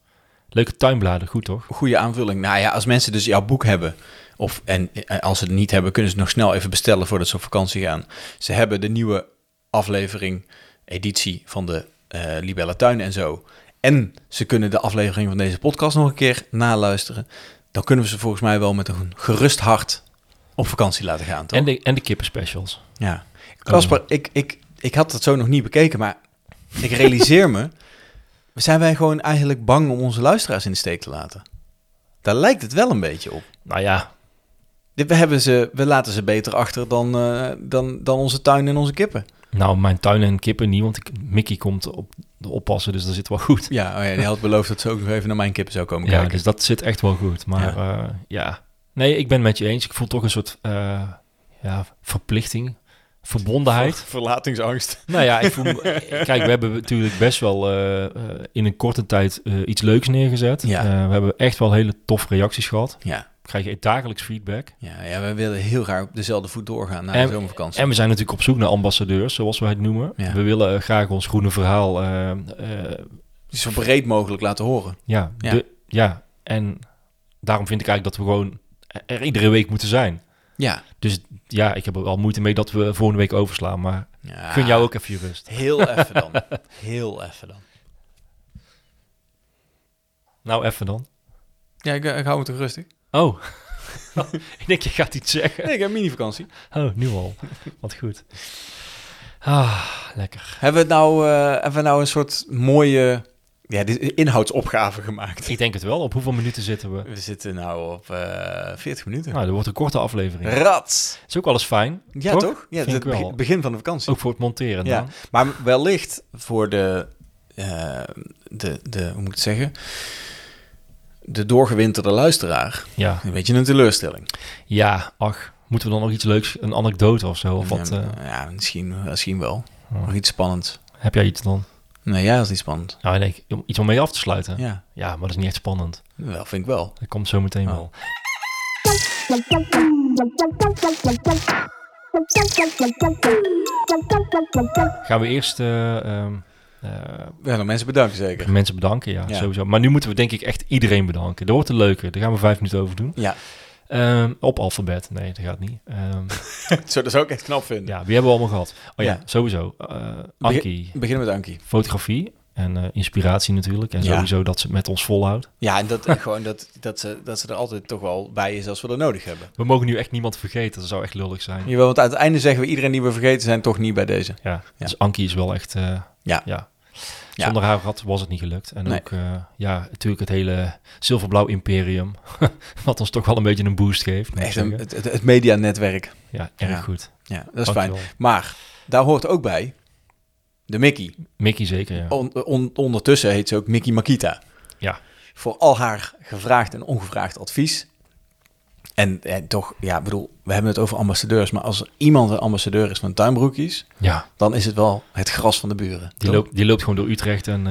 Speaker 2: Leuke tuinbladen, goed toch?
Speaker 1: Goede aanvulling. Nou ja, als mensen dus jouw boek hebben, of en eh, als ze het niet hebben, kunnen ze het nog snel even bestellen voordat ze op vakantie gaan. Ze hebben de nieuwe aflevering, editie van de eh Libelle Tuin en zo. En ze kunnen de aflevering van deze podcast nog een keer naluisteren. Dan kunnen we ze volgens mij wel met een gerust hart op vakantie laten gaan. Toch?
Speaker 2: En de, en de kippenspecials.
Speaker 1: Ja. Kasper, ik, ik, ik had dat zo nog niet bekeken, maar ik realiseer me... Zijn wij gewoon eigenlijk bang om onze luisteraars in de steek te laten? Daar lijkt het wel een beetje op.
Speaker 2: Nou ja,
Speaker 1: Dit- We, hebben ze, we laten ze beter achter dan, eh, dan, dan onze tuin en onze kippen.
Speaker 2: nou mijn tuin en kippen niet. Want ik, Mickey komt op, oppassen, dus dat zit wel goed.
Speaker 1: Ja, oh ja, die had beloofd dat ze ook nog even naar mijn kippen zou komen
Speaker 2: Ja,
Speaker 1: kijken.
Speaker 2: dus dat zit echt wel goed. Maar ja. ja, nee, ik ben het met je eens. Ik voel toch een soort eh, ja, verplichting, verbondenheid.
Speaker 1: Verlatingsangst.
Speaker 2: nou ja, ik voel, me- kijk, we hebben natuurlijk best wel eh, eh, in een korte tijd eh, iets leuks neergezet.
Speaker 1: Ja.
Speaker 2: Eh, we hebben echt wel hele toffe reacties gehad.
Speaker 1: Ja,
Speaker 2: Ik krijg je dagelijks feedback.
Speaker 1: ja, ja, we willen heel graag op dezelfde voet doorgaan na
Speaker 2: En-
Speaker 1: de zomervakantie.
Speaker 2: En we zijn natuurlijk op zoek naar ambassadeurs, zoals wij het noemen.
Speaker 1: Ja.
Speaker 2: We willen eh, graag ons groene verhaal eh, eh,
Speaker 1: Dus Zo breed mogelijk laten horen.
Speaker 2: Ja,
Speaker 1: Ja.
Speaker 2: De, ja, en daarom vind ik eigenlijk dat we gewoon e- er iedere week moeten zijn.
Speaker 1: Ja.
Speaker 2: Dus ja, ik heb er wel moeite mee dat we volgende week overslaan, maar
Speaker 1: ja.
Speaker 2: gun jou ook even je rust.
Speaker 1: Heel even dan. Heel even dan.
Speaker 2: Nou, even dan.
Speaker 1: Ja, ik, ik hou me toch rustig?
Speaker 2: Oh, ik denk je gaat iets zeggen.
Speaker 1: Nee, ik heb mini-vakantie.
Speaker 2: Oh, nu al. Wat goed. Ah, lekker.
Speaker 1: Hebben we het nou, eh, hebben we nou een soort mooie ja, dit is een inhoudsopgave gemaakt?
Speaker 2: Ik denk het wel. Op hoeveel minuten zitten we?
Speaker 1: We zitten nou op eh 40 minuten.
Speaker 2: Nou, dat wordt een korte aflevering.
Speaker 1: Rats!
Speaker 2: Is ook alles fijn.
Speaker 1: Ja,
Speaker 2: Toch?
Speaker 1: toch? Ja,
Speaker 2: Vind
Speaker 1: het
Speaker 2: ik
Speaker 1: beg-
Speaker 2: wel.
Speaker 1: begin van de vakantie.
Speaker 2: Ook voor het monteren
Speaker 1: ja.
Speaker 2: dan.
Speaker 1: Maar wellicht voor de, eh, de, de, hoe moet ik het zeggen? De doorgewinterde luisteraar.
Speaker 2: Ja.
Speaker 1: Een beetje een teleurstelling.
Speaker 2: Ja, ach. Moeten we dan nog iets leuks, een anekdote of zo? Of wat,
Speaker 1: ja,
Speaker 2: eh, Oh.
Speaker 1: ja, misschien, misschien wel.
Speaker 2: Ja.
Speaker 1: Nog iets spannends.
Speaker 2: heb jij iets dan?
Speaker 1: Nee, ja, dat is niet spannend.
Speaker 2: Nou, ik denk, om- iets om mee af te sluiten. Ja.
Speaker 1: Ja,
Speaker 2: maar dat is niet echt spannend.
Speaker 1: wel, vind ik wel.
Speaker 2: Dat komt zo meteen
Speaker 1: Oh.
Speaker 2: wel. Gaan we eerst eh, ehm, eh,
Speaker 1: Ja, dan mensen bedanken zeker.
Speaker 2: mensen bedanken? Ja,
Speaker 1: Ja.
Speaker 2: sowieso. Maar nu moeten we denk ik echt iedereen bedanken. Dat wordt een leuke. Daar gaan we vijf minuten over doen.
Speaker 1: Ja,
Speaker 2: Ehm, op alfabet. Nee, dat gaat niet. Ehm,
Speaker 1: zou dat zou ik echt knap vinden.
Speaker 2: ja, wie hebben we allemaal gehad? Oh ja,
Speaker 1: Ja.
Speaker 2: sowieso. Eh Ankie,
Speaker 1: Beginnen met Ankie.
Speaker 2: fotografie en eh, inspiratie natuurlijk. En
Speaker 1: Ja.
Speaker 2: sowieso dat ze het met ons volhoudt.
Speaker 1: Ja, en dat, gewoon dat, dat, ze, dat ze er altijd toch wel bij is als we dat nodig hebben.
Speaker 2: We mogen nu echt niemand vergeten. Dat zou echt lullig zijn.
Speaker 1: Jawel, want aan het einde zeggen we iedereen die we vergeten zijn toch niet bij deze.
Speaker 2: Ja, dus Ankie is wel echt... eh,
Speaker 1: Ja.
Speaker 2: ja. Zonder haar had, was het niet gelukt. En
Speaker 1: Nee.
Speaker 2: ook, eh, ja, natuurlijk het hele zilverblauw imperium. wat ons toch wel een beetje een boost geeft. moet ik
Speaker 1: Echt een,
Speaker 2: zeggen.
Speaker 1: het, het, het medianetwerk.
Speaker 2: Ja, erg
Speaker 1: ja,
Speaker 2: goed.
Speaker 1: Ja, dat is fijn.
Speaker 2: Dankjewel.
Speaker 1: Maar daar hoort ook bij de Mickey.
Speaker 2: Mickey zeker, ja.
Speaker 1: On- on- ondertussen heet ze ook Mickey Makita.
Speaker 2: Ja.
Speaker 1: Voor al haar gevraagd en ongevraagd advies. En, en toch, ja, ik bedoel, we hebben het over ambassadeurs. Maar als er iemand een ambassadeur is van tuinbroekjes,
Speaker 2: ja
Speaker 1: dan is het wel het gras van de buren.
Speaker 2: die,
Speaker 1: Toch?
Speaker 2: loopt, die loopt gewoon door Utrecht en...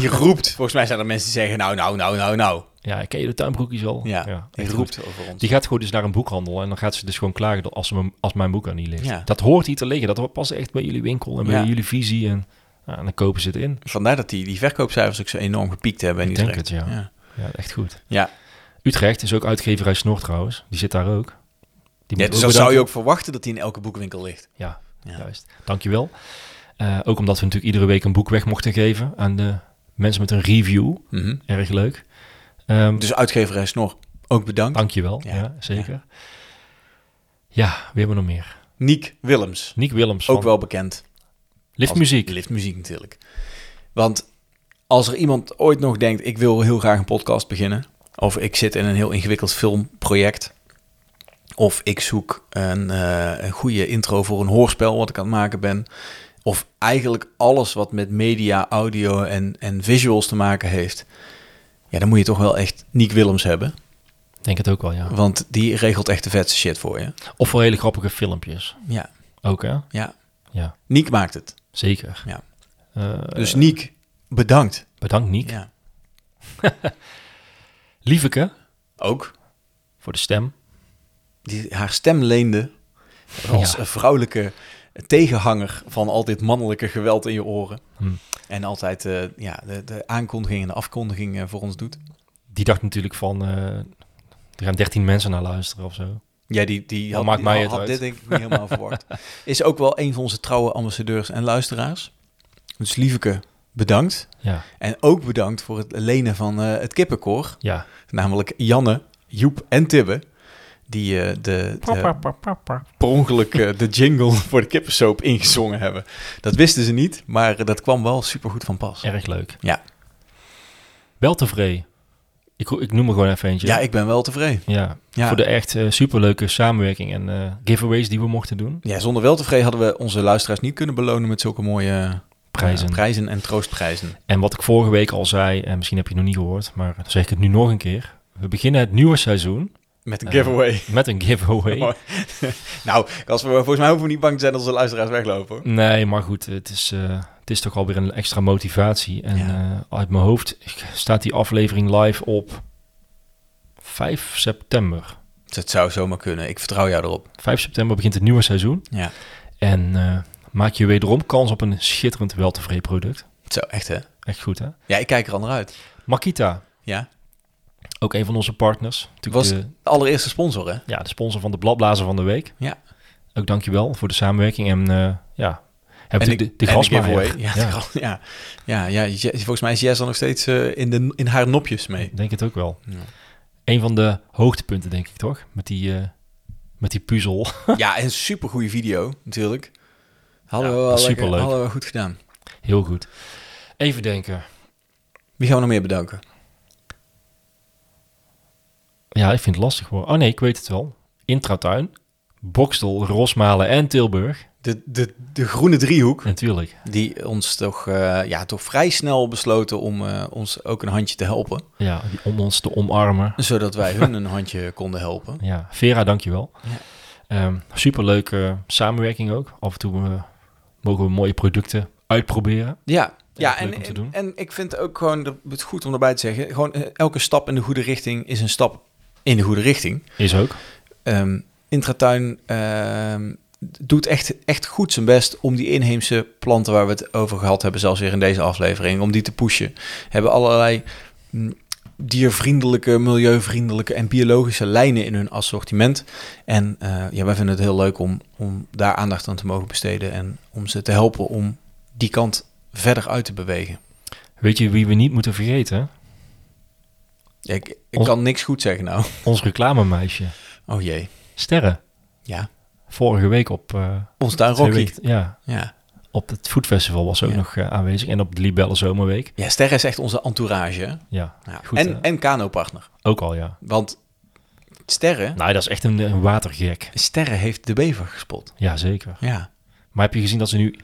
Speaker 1: Die roept. Volgens mij zijn er mensen die zeggen, nou, nou, nou, nou, nou.
Speaker 2: ja, ken je de tuinbroekjes al?
Speaker 1: Ja, die
Speaker 2: echt
Speaker 1: roept
Speaker 2: goed.
Speaker 1: over ons.
Speaker 2: Die gaat gewoon dus naar een boekhandel en dan gaat ze dus gewoon klagen dat als, ze mijn, als mijn boek er niet ligt.
Speaker 1: Ja.
Speaker 2: Dat hoort hier te liggen. Dat hoort- past echt bij jullie winkel en bij
Speaker 1: Ja.
Speaker 2: jullie visie. En, nou, en dan kopen ze het in.
Speaker 1: Vandaar dat die, die verkoopcijfers ook zo enorm gepiekt hebben. in
Speaker 2: Ik denk
Speaker 1: Utrecht.
Speaker 2: het, ja.
Speaker 1: ja.
Speaker 2: Ja, echt goed.
Speaker 1: Ja.
Speaker 2: Utrecht is ook uitgeverij Snor trouwens. Die zit daar ook. Die
Speaker 1: Ja,
Speaker 2: moet
Speaker 1: dus dan
Speaker 2: ook
Speaker 1: zou je
Speaker 2: bedanken.
Speaker 1: ook verwachten dat die in elke boekwinkel ligt.
Speaker 2: Ja,
Speaker 1: Ja.
Speaker 2: juist. Dankjewel. Eh ook omdat we natuurlijk iedere week een boek weg mochten geven aan de mensen met een review.
Speaker 1: Mhm.
Speaker 2: Erg leuk. Ehm
Speaker 1: Dus uitgever en snor, ook bedankt.
Speaker 2: dankjewel.
Speaker 1: Ja,
Speaker 2: Ja, zeker. Ja. wie hebben we nog meer?
Speaker 1: Niek Willems,
Speaker 2: Nick Willems
Speaker 1: ook
Speaker 2: van
Speaker 1: wel bekend.
Speaker 2: Liftmuziek.
Speaker 1: Als- Liftmuziek natuurlijk. Want als er iemand ooit nog denkt, ik wil heel graag een podcast beginnen. Of ik zit in een heel ingewikkeld filmproject. Of ik zoek een, eh, een goede intro voor een hoorspel wat ik aan het maken ben. Of eigenlijk alles wat met media, audio en, en visuals te maken heeft. Ja, dan moet je toch wel echt Niek Willems hebben.
Speaker 2: Ik Denk het ook wel, ja.
Speaker 1: Want die regelt echt de vetste shit voor je.
Speaker 2: Of voor hele grappige filmpjes.
Speaker 1: Ja,
Speaker 2: Ook, hè?
Speaker 1: ja.
Speaker 2: Ja,
Speaker 1: Niek maakt het.
Speaker 2: zeker.
Speaker 1: Ja.
Speaker 2: Eh,
Speaker 1: Dus Niek, bedankt.
Speaker 2: bedankt, Nick.
Speaker 1: Ja.
Speaker 2: Lieveke,
Speaker 1: Ook.
Speaker 2: voor de stem.
Speaker 1: die haar stem leende als
Speaker 2: Ja.
Speaker 1: een vrouwelijke tegenhanger van al dit mannelijke geweld in je oren.
Speaker 2: Hmm.
Speaker 1: En altijd eh, ja, de, de aankondiging en de afkondiging eh, voor ons doet.
Speaker 2: Die dacht natuurlijk van... eh, er gaan 13 mensen naar luisteren of zo.
Speaker 1: Ja, die, die
Speaker 2: Dan
Speaker 1: had,
Speaker 2: maakt
Speaker 1: die
Speaker 2: mij
Speaker 1: had-
Speaker 2: het
Speaker 1: had
Speaker 2: uit.
Speaker 1: dit denk ik niet helemaal verwacht. Is ook wel een van onze trouwe ambassadeurs en luisteraars. Dus lieveke, bedankt.
Speaker 2: Ja,
Speaker 1: En ook bedankt voor het lenen van eh, het kippenkoor.
Speaker 2: ja.
Speaker 1: Namelijk Janne, Joep en Tibbe. Die eh, de, de per ongeluk eh, de jingle voor de kippensoap ingezongen hebben. Dat wisten ze niet, maar eh, dat kwam wel supergoed van pas.
Speaker 2: Erg leuk.
Speaker 1: Ja.
Speaker 2: Wel tevreden. Ik, ik noem er gewoon even eentje.
Speaker 1: Ja, ik ben wel tevreden.
Speaker 2: Ja,
Speaker 1: Ja.
Speaker 2: voor de echt eh, superleuke samenwerking en eh, giveaways die we mochten doen.
Speaker 1: ja, zonder wel tevreden hadden we onze luisteraars niet kunnen belonen met zulke mooie eh,
Speaker 2: Prijzen.
Speaker 1: prijzen en troostprijzen.
Speaker 2: En wat ik vorige week al zei, en misschien heb je het nog niet gehoord, maar dan zeg ik het nu nog een keer. We beginnen het nieuwe seizoen
Speaker 1: Met een
Speaker 2: Eh,
Speaker 1: giveaway.
Speaker 2: met een giveaway.
Speaker 1: Mooi. nou, als we, volgens mij hoeven we niet bang te zijn dat onze luisteraars weglopen. hoor.
Speaker 2: Nee, maar goed, het is, eh, het is toch alweer een extra motivatie. En
Speaker 1: Ja.
Speaker 2: eh, uit mijn hoofd staat die aflevering live op 5 september.
Speaker 1: Dat zou zomaar kunnen. Ik vertrouw jou erop.
Speaker 2: 5 september begint het nieuwe seizoen.
Speaker 1: Ja,
Speaker 2: En eh, maak je wederom kans op een schitterend weltevreden product.
Speaker 1: zo echt hè.
Speaker 2: Echt goed, hè?
Speaker 1: Ja, ik kijk er anders uit.
Speaker 2: Makita,
Speaker 1: Ja,
Speaker 2: ook een van onze partners. Natuurlijk
Speaker 1: Was-
Speaker 2: de,
Speaker 1: de allereerste sponsor hè.
Speaker 2: ja, de sponsor van de bladblazer van de week.
Speaker 1: Ja.
Speaker 2: Ook dankjewel voor de samenwerking. En eh, ja, hebben
Speaker 1: En
Speaker 2: de,
Speaker 1: ik-
Speaker 2: de, de
Speaker 1: en
Speaker 2: grasmaaier.
Speaker 1: giveaway. Ja, de
Speaker 2: Ja,
Speaker 1: gra- ja. Ja, ja, Je- volgens mij is Jess dan nog steeds eh, in, de, in haar nopjes mee.
Speaker 2: ik denk het ook wel.
Speaker 1: Ja.
Speaker 2: Een van de hoogtepunten, denk ik toch? Met die, eh, met die puzzel.
Speaker 1: Ja, en supergoeie video natuurlijk. Hadden,
Speaker 2: Ja,
Speaker 1: we wel
Speaker 2: superleuk.
Speaker 1: lekker- hadden we goed gedaan.
Speaker 2: Heel goed. Even denken.
Speaker 1: Wie gaan we nog meer bedanken?
Speaker 2: Ja, ik vind het lastig hoor. Oh nee, ik weet het wel. Intratuin, Bokstel, Rosmalen en Tilburg.
Speaker 1: De, de, de groene driehoek,
Speaker 2: Natuurlijk.
Speaker 1: die ons toch, eh, ja, toch vrij snel besloten om eh, ons ook een handje te helpen.
Speaker 2: Ja, die- om ons te omarmen.
Speaker 1: Zodat wij hun een handje konden helpen.
Speaker 2: Ja, Vera, dankjewel.
Speaker 1: Ja.
Speaker 2: Ehm superleuke samenwerking ook. Af en toe eh, mogen we mooie producten uitproberen.
Speaker 1: Ja, ja
Speaker 2: echt leuk
Speaker 1: en,
Speaker 2: om te
Speaker 1: en,
Speaker 2: doen.
Speaker 1: en ik vind ook gewoon dat- het goed om erbij te zeggen. Gewoon eh, elke stap in de goede richting is een stap in de goede richting.
Speaker 2: Is ook.
Speaker 1: Ehm, Intratuin ehm, doet echt, echt goed zijn best om die inheemse planten waar we het over gehad hebben, zelfs weer in deze aflevering, om die te pushen. Hebben allerlei mm, diervriendelijke, milieuvriendelijke en biologische lijnen in hun assortiment. En eh, ja, wij vinden het heel leuk om, om daar aandacht aan te mogen besteden en om ze te helpen om die kant verder uit te bewegen.
Speaker 2: Weet je wie we niet moeten vergeten?
Speaker 1: Ja, ik ik
Speaker 2: Ons-
Speaker 1: kan niks goed zeggen nou.
Speaker 2: Ons reclamemeisje.
Speaker 1: Oh jee,
Speaker 2: Sterren.
Speaker 1: ja.
Speaker 2: Vorige week op... eh,
Speaker 1: Ons tuin
Speaker 2: twee
Speaker 1: Rocky.
Speaker 2: weken- ja,
Speaker 1: Ja.
Speaker 2: op het Food Festival was ze ook
Speaker 1: Ja.
Speaker 2: nog eh, aanwezig. En op de Libelle Zomerweek.
Speaker 1: ja, Ster is echt onze entourage. hè?
Speaker 2: Ja,
Speaker 1: Ja.
Speaker 2: Goed,
Speaker 1: en,
Speaker 2: hè?
Speaker 1: en kanopartner.
Speaker 2: ook al ja.
Speaker 1: Want Sterren,
Speaker 2: Nou, dat is echt een, een watergek.
Speaker 1: Sterren heeft de bever gespot.
Speaker 2: Jazeker.
Speaker 1: Ja.
Speaker 2: Maar heb je gezien dat ze nu...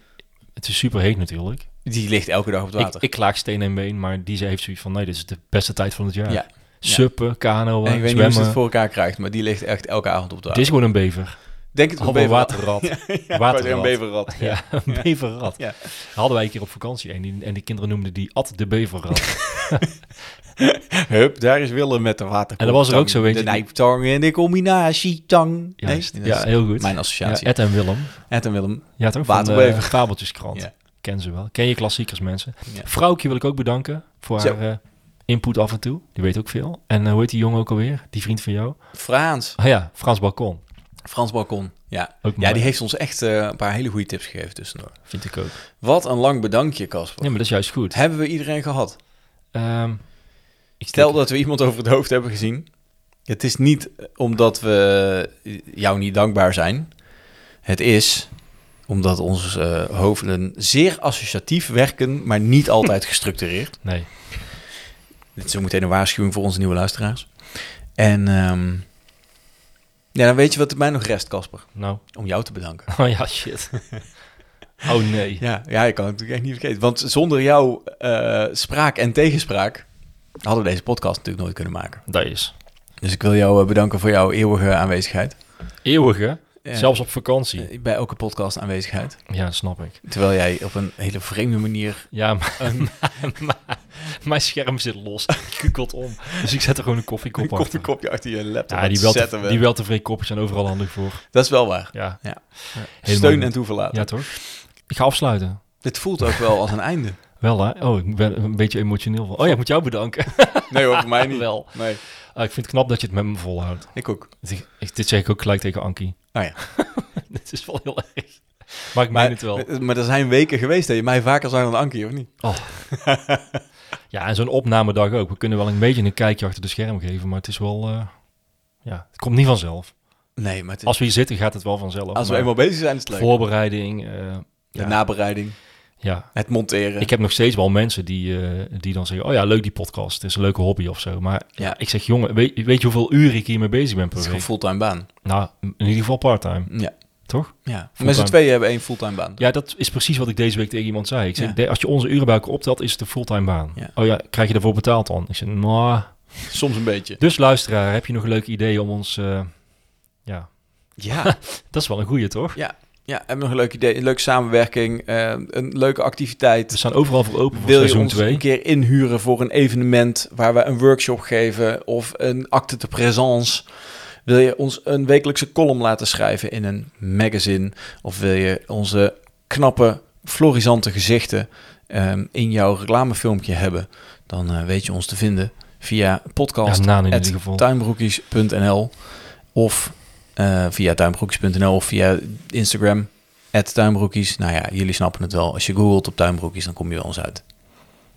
Speaker 2: Het is superheet natuurlijk.
Speaker 1: Die ligt elke dag op het
Speaker 2: Ik,
Speaker 1: water.
Speaker 2: ik klaag steen en been, maar die ze heeft zoiets van... Nee, dit is de beste tijd van het jaar.
Speaker 1: Ja.
Speaker 2: Suppen, kanoën,
Speaker 1: en ik weet niet hoe ze het
Speaker 2: zwemmen.
Speaker 1: voor elkaar krijgt, maar die ligt echt elke avond op het
Speaker 2: Het
Speaker 1: water.
Speaker 2: is gewoon een bever.
Speaker 1: Denk het
Speaker 2: Of een waterrat. Ja,
Speaker 1: Ja,
Speaker 2: waterrat.
Speaker 1: een beverrat. Ja.
Speaker 2: een beverrat.
Speaker 1: Ja.
Speaker 2: Hadden wij een keer op vakantie en, die, en de kinderen noemden die Ad de beverrat.
Speaker 1: Hup, daar is Willem met de water.
Speaker 2: En dat was er ook zo, weet
Speaker 1: De
Speaker 2: je.
Speaker 1: nijptang en de combinatietang.
Speaker 2: Juist.
Speaker 1: Nee, dat
Speaker 2: ja,
Speaker 1: is
Speaker 2: heel goed.
Speaker 1: Mijn
Speaker 2: Ja,
Speaker 1: associatie.
Speaker 2: Ed en Willem.
Speaker 1: Ed en Willem.
Speaker 2: Ja, toch? Van de
Speaker 1: Waterbever.
Speaker 2: Fabeltjeskrant.
Speaker 1: Ja.
Speaker 2: Ken ze wel. Ken je klassiekers, mensen.
Speaker 1: Ja.
Speaker 2: Vrouwtje wil ik ook bedanken voor
Speaker 1: Zo.
Speaker 2: haar eh, input af en toe. Die weet ook veel. En eh, hoe heet die jongen ook alweer? Die vriend van jou?
Speaker 1: Frans.
Speaker 2: Ah ja, Frans Balkon.
Speaker 1: Frans Balkon. Ja.
Speaker 2: Ook
Speaker 1: Ja,
Speaker 2: mooi.
Speaker 1: die heeft ons echt eh, een paar hele goede tips gegeven tussendoor.
Speaker 2: Vind ik ook.
Speaker 1: Wat een lang bedankje, Casper.
Speaker 2: Nee, maar dat is juist goed.
Speaker 1: Hebben we iedereen gehad?
Speaker 2: Ehm, ik
Speaker 1: Stel
Speaker 2: denk-
Speaker 1: dat we iemand over het hoofd hebben gezien. Het is niet omdat we jou niet dankbaar zijn. Het is omdat onze eh, hoofden zeer associatief werken, maar niet altijd gestructureerd.
Speaker 2: Nee.
Speaker 1: Dit is zometeen een waarschuwing voor onze nieuwe luisteraars. En ehm, ja, dan weet je wat er mij nog rest, Casper.
Speaker 2: Nou.
Speaker 1: Om jou te bedanken.
Speaker 2: Oh ja, shit. oh nee.
Speaker 1: Ja, ja, ik kan het natuurlijk echt niet vergeten. Want zonder jouw eh, spraak en tegenspraak hadden we deze podcast natuurlijk nooit kunnen maken.
Speaker 2: Dat is
Speaker 1: Dus ik wil jou eh, bedanken voor jouw eeuwige aanwezigheid.
Speaker 2: eeuwige.
Speaker 1: Ja.
Speaker 2: Zelfs op vakantie.
Speaker 1: Eh, bij elke podcast aanwezigheid.
Speaker 2: Ja, dat snap ik.
Speaker 1: Terwijl jij op een hele vreemde manier.
Speaker 2: Ja, maar,
Speaker 1: Ehm.
Speaker 2: maar- mijn scherm zit los. Kukelt om. Dus ik zet er gewoon een koffiekop achter.
Speaker 1: koffiekopje achter je laptop.
Speaker 2: Ja,
Speaker 1: aan
Speaker 2: die
Speaker 1: te
Speaker 2: wel,
Speaker 1: zetten
Speaker 2: te,
Speaker 1: we.
Speaker 2: die wel tevreden kopjes zijn overal handig voor.
Speaker 1: Dat is wel waar.
Speaker 2: Ja.
Speaker 1: Ja.
Speaker 2: Helemaal
Speaker 1: Steun
Speaker 2: goed.
Speaker 1: en toeverlaten.
Speaker 2: Ja, toch? Ik ga afsluiten.
Speaker 1: Dit voelt ook wel als een einde.
Speaker 2: Wel, hè? Oh, ik ben een beetje emotioneel van. Oh ja, ik moet jou bedanken.
Speaker 1: Nee hoor, voor mij niet.
Speaker 2: Wel.
Speaker 1: Nee,
Speaker 2: Ah, ik vind het knap dat je het met me volhoudt.
Speaker 1: ik ook.
Speaker 2: Dit- ik- dit zeg ik ook gelijk tegen Ankie.
Speaker 1: Nou ja.
Speaker 2: dit is wel heel erg. Maar ik meen het wel.
Speaker 1: Maar, maar er zijn weken geweest dat je mij vaker zijn dan Ankie, of niet?
Speaker 2: Ja, en zo'n opnamedag ook. We kunnen wel een beetje een kijkje achter de scherm geven, maar het is wel... eh, ja, het komt niet vanzelf.
Speaker 1: Nee, maar het is-
Speaker 2: Als we hier zitten, gaat het wel vanzelf.
Speaker 1: als we
Speaker 2: maar
Speaker 1: eenmaal bezig zijn, is het leuk.
Speaker 2: Voorbereiding, eh,
Speaker 1: De
Speaker 2: ja.
Speaker 1: nabereiding,
Speaker 2: ja.
Speaker 1: het monteren.
Speaker 2: Ik heb nog steeds wel mensen die, eh, die dan zeggen... Oh ja, leuk die podcast. Het is een leuke hobby of zo. Maar
Speaker 1: Ja.
Speaker 2: ik zeg, jongen, weet, weet je hoeveel uren ik hiermee bezig ben
Speaker 1: het
Speaker 2: per
Speaker 1: is gewoon
Speaker 2: week?
Speaker 1: fulltime baan.
Speaker 2: Nou, in ieder geval part-time.
Speaker 1: Ja.
Speaker 2: Toch?
Speaker 1: ja. Met z'n
Speaker 2: Fulltime.
Speaker 1: tweeën hebben één fulltime baan.
Speaker 2: Ja, dat is precies wat ik deze week tegen iemand zei. Ik zeg,
Speaker 1: Ja.
Speaker 2: "De- als je onze uren bij elkaar optelt, is het een fulltime baan.
Speaker 1: Ja.
Speaker 2: Oh ja, krijg je daarvoor betaald dan? Ik zeg, nou...
Speaker 1: Soms een beetje.
Speaker 2: Dus luisteraar, heb je nog leuke ideeën om ons... eh, ja,
Speaker 1: Ja.
Speaker 2: dat is wel een goeie, toch?
Speaker 1: ja, hebben we nog een leuk idee. Een leuke samenwerking, eh, een leuke activiteit.
Speaker 2: We staan overal voor open voor
Speaker 1: Wil je
Speaker 2: seizoen
Speaker 1: ons
Speaker 2: 2.
Speaker 1: een keer inhuren voor een evenement waar we een workshop geven of een acte de présence? Wil je ons een wekelijkse column laten schrijven in een magazine? Of wil je onze knappe, florisante gezichten ehm, in jouw reclamefilmpje hebben? Dan eh, weet je ons te vinden via
Speaker 2: Ja,
Speaker 1: podcast
Speaker 2: Naan in
Speaker 1: at
Speaker 2: ieder geval.
Speaker 1: tuinbroekjes.nl of eh, via tuinbroekjes.nl of via Instagram at tuinbroekjes. Nou ja, jullie snappen het wel. Als je googelt op tuinbroekjes, dan kom je wel ons uit.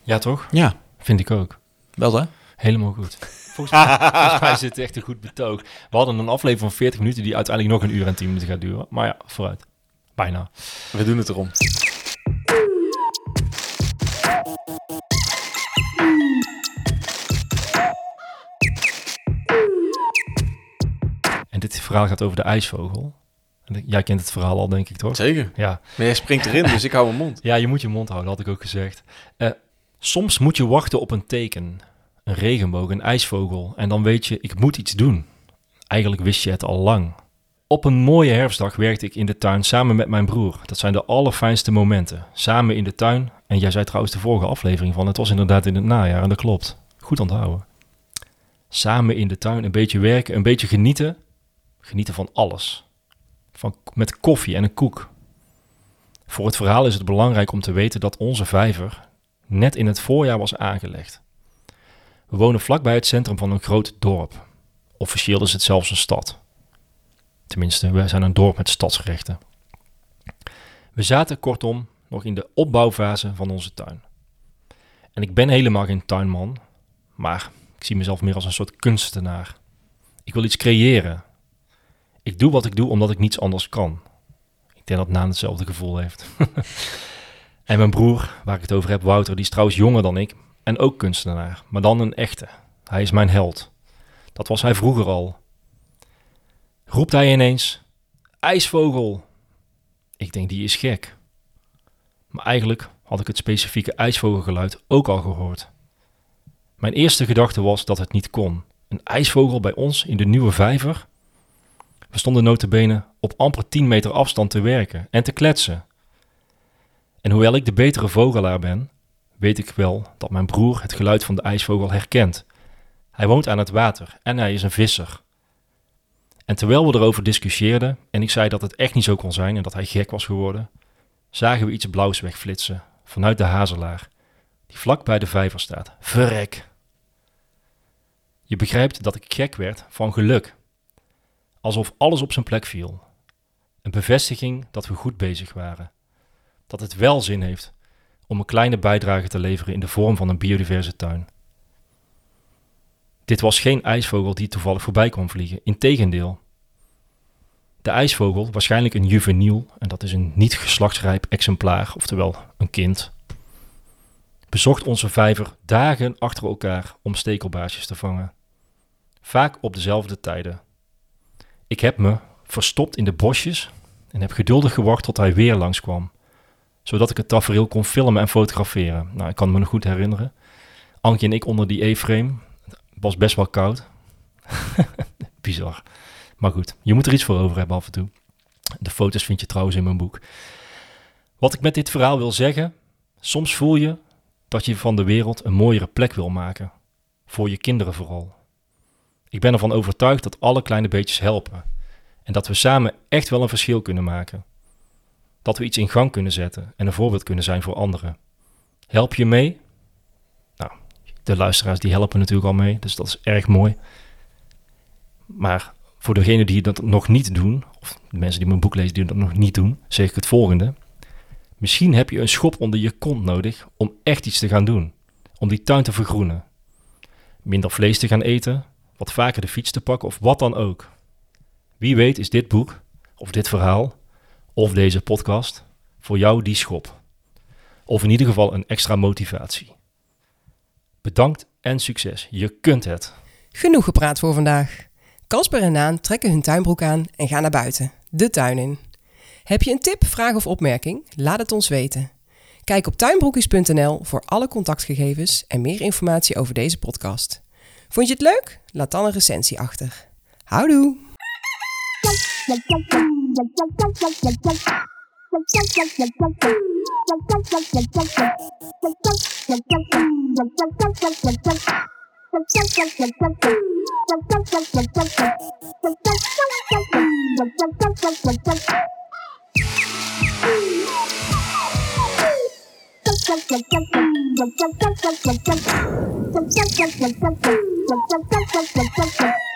Speaker 2: Ja, toch?
Speaker 1: Ja,
Speaker 2: Vind ik ook.
Speaker 1: wel hè?
Speaker 2: Helemaal goed. Volgens mij, volgens mij zit echt een goed betoog. We hadden een aflevering van 40 minuten die uiteindelijk nog een uur en 10 minuten gaat duren. Maar ja, vooruit. Bijna.
Speaker 1: We doen het erom.
Speaker 2: En dit verhaal gaat over de ijsvogel. En ik- Jij kent het verhaal al, denk ik, toch?
Speaker 1: Zeker.
Speaker 2: Ja.
Speaker 1: Maar jij springt erin, dus ik hou mijn mond.
Speaker 2: ja, je moet je mond houden, had ik ook gezegd. Eh, soms moet je wachten op een teken. Een regenboog, een ijsvogel. En dan weet je, ik moet iets doen. Eigenlijk wist je het al lang. Op een mooie herfstdag werkte ik in de tuin samen met mijn broer. Dat zijn de allerfijnste momenten. Samen in de tuin. En jij zei trouwens de vorige aflevering van, het was inderdaad in het najaar en dat klopt. Goed onthouden. Samen in de tuin, een beetje werken, een beetje genieten. Genieten van alles. Van, met koffie en een koek. Voor het verhaal is het belangrijk om te weten dat onze vijver net in het voorjaar was aangelegd. We wonen vlakbij het centrum van een groot dorp. Officieel is het zelfs een stad. Tenminste, wij zijn een dorp met stadsrechten. We zaten kortom nog in de opbouwfase van onze tuin. En ik ben helemaal geen tuinman, maar ik zie mezelf meer als een soort kunstenaar. Ik wil iets creëren. Ik doe wat ik doe omdat ik niets anders kan. Ik denk dat Naan hetzelfde gevoel heeft. en mijn broer, waar ik het over heb, Wouter, die is trouwens jonger dan ik en ook kunstenaar, maar dan een echte. Hij is mijn held. Dat was hij vroeger al. Roept hij ineens: IJsvogel! Ik denk, die is gek. Maar eigenlijk had ik het specifieke ijsvogelgeluid ook al gehoord. Mijn eerste gedachte was dat het niet kon. Een ijsvogel bij ons in de nieuwe vijver? We stonden notabene op amper 10 meter afstand te werken en te kletsen. En hoewel ik de betere vogelaar ben, weet ik wel dat mijn broer het geluid van de ijsvogel herkent. Hij woont aan het water en hij is een visser. En terwijl we erover discussieerden en ik zei dat het echt niet zo kon zijn en dat hij gek was geworden, zagen we iets blauws wegflitsen vanuit de hazelaar, die vlak bij de vijver staat. Verrek! Je begrijpt dat ik gek werd van geluk. Alsof alles op zijn plek viel. Een bevestiging dat we goed bezig waren. Dat het wel zin heeft om een kleine bijdrage te leveren in de vorm van een biodiverse tuin. Dit was geen ijsvogel die toevallig voorbij kwam vliegen, integendeel. De ijsvogel, waarschijnlijk een juveniel, en dat is een niet geslachtsrijp exemplaar, oftewel een kind, bezocht onze vijver dagen achter elkaar om stekelbaarsjes te vangen. Vaak op dezelfde tijden. Ik heb me verstopt in de bosjes en heb geduldig gewacht tot hij weer langskwam zodat ik het tafereel kon filmen en fotograferen. Nou, ik kan me nog goed herinneren. Ankie en ik onder die E-frame. Het was best wel koud. Bizar. Maar goed, je moet er iets voor over hebben af en toe. De foto's vind je trouwens in mijn boek. Wat ik met dit verhaal wil zeggen, soms voel je dat je van de wereld een mooiere plek wil maken. Voor je kinderen vooral. Ik ben ervan overtuigd dat alle kleine beetjes helpen. En dat we samen echt wel een verschil kunnen maken dat we iets in gang kunnen zetten en een voorbeeld kunnen zijn voor anderen. Help je mee? Nou, de luisteraars die helpen natuurlijk al mee, dus dat is erg mooi. Maar voor degenen die dat nog niet doen, of de mensen die mijn boek lezen die dat nog niet doen, zeg ik het volgende. Misschien heb je een schop onder je kont nodig om echt iets te gaan doen. Om die tuin te vergroenen. Minder vlees te gaan eten, wat vaker de fiets te pakken of wat dan ook. Wie weet is dit boek, of dit verhaal, of deze podcast voor jou die schop. Of in ieder geval een extra motivatie. Bedankt en succes. Je kunt het.
Speaker 3: Genoeg gepraat voor vandaag. Kasper en Naan trekken hun tuinbroek aan en gaan naar buiten, de tuin in. Heb je een tip, vraag of opmerking? Laat het ons weten. Kijk op tuinbroekjes.nl voor alle contactgegevens en meer informatie over deze podcast. Vond je het leuk? Laat dan een recensie achter. Houdoe!
Speaker 4: Thank you.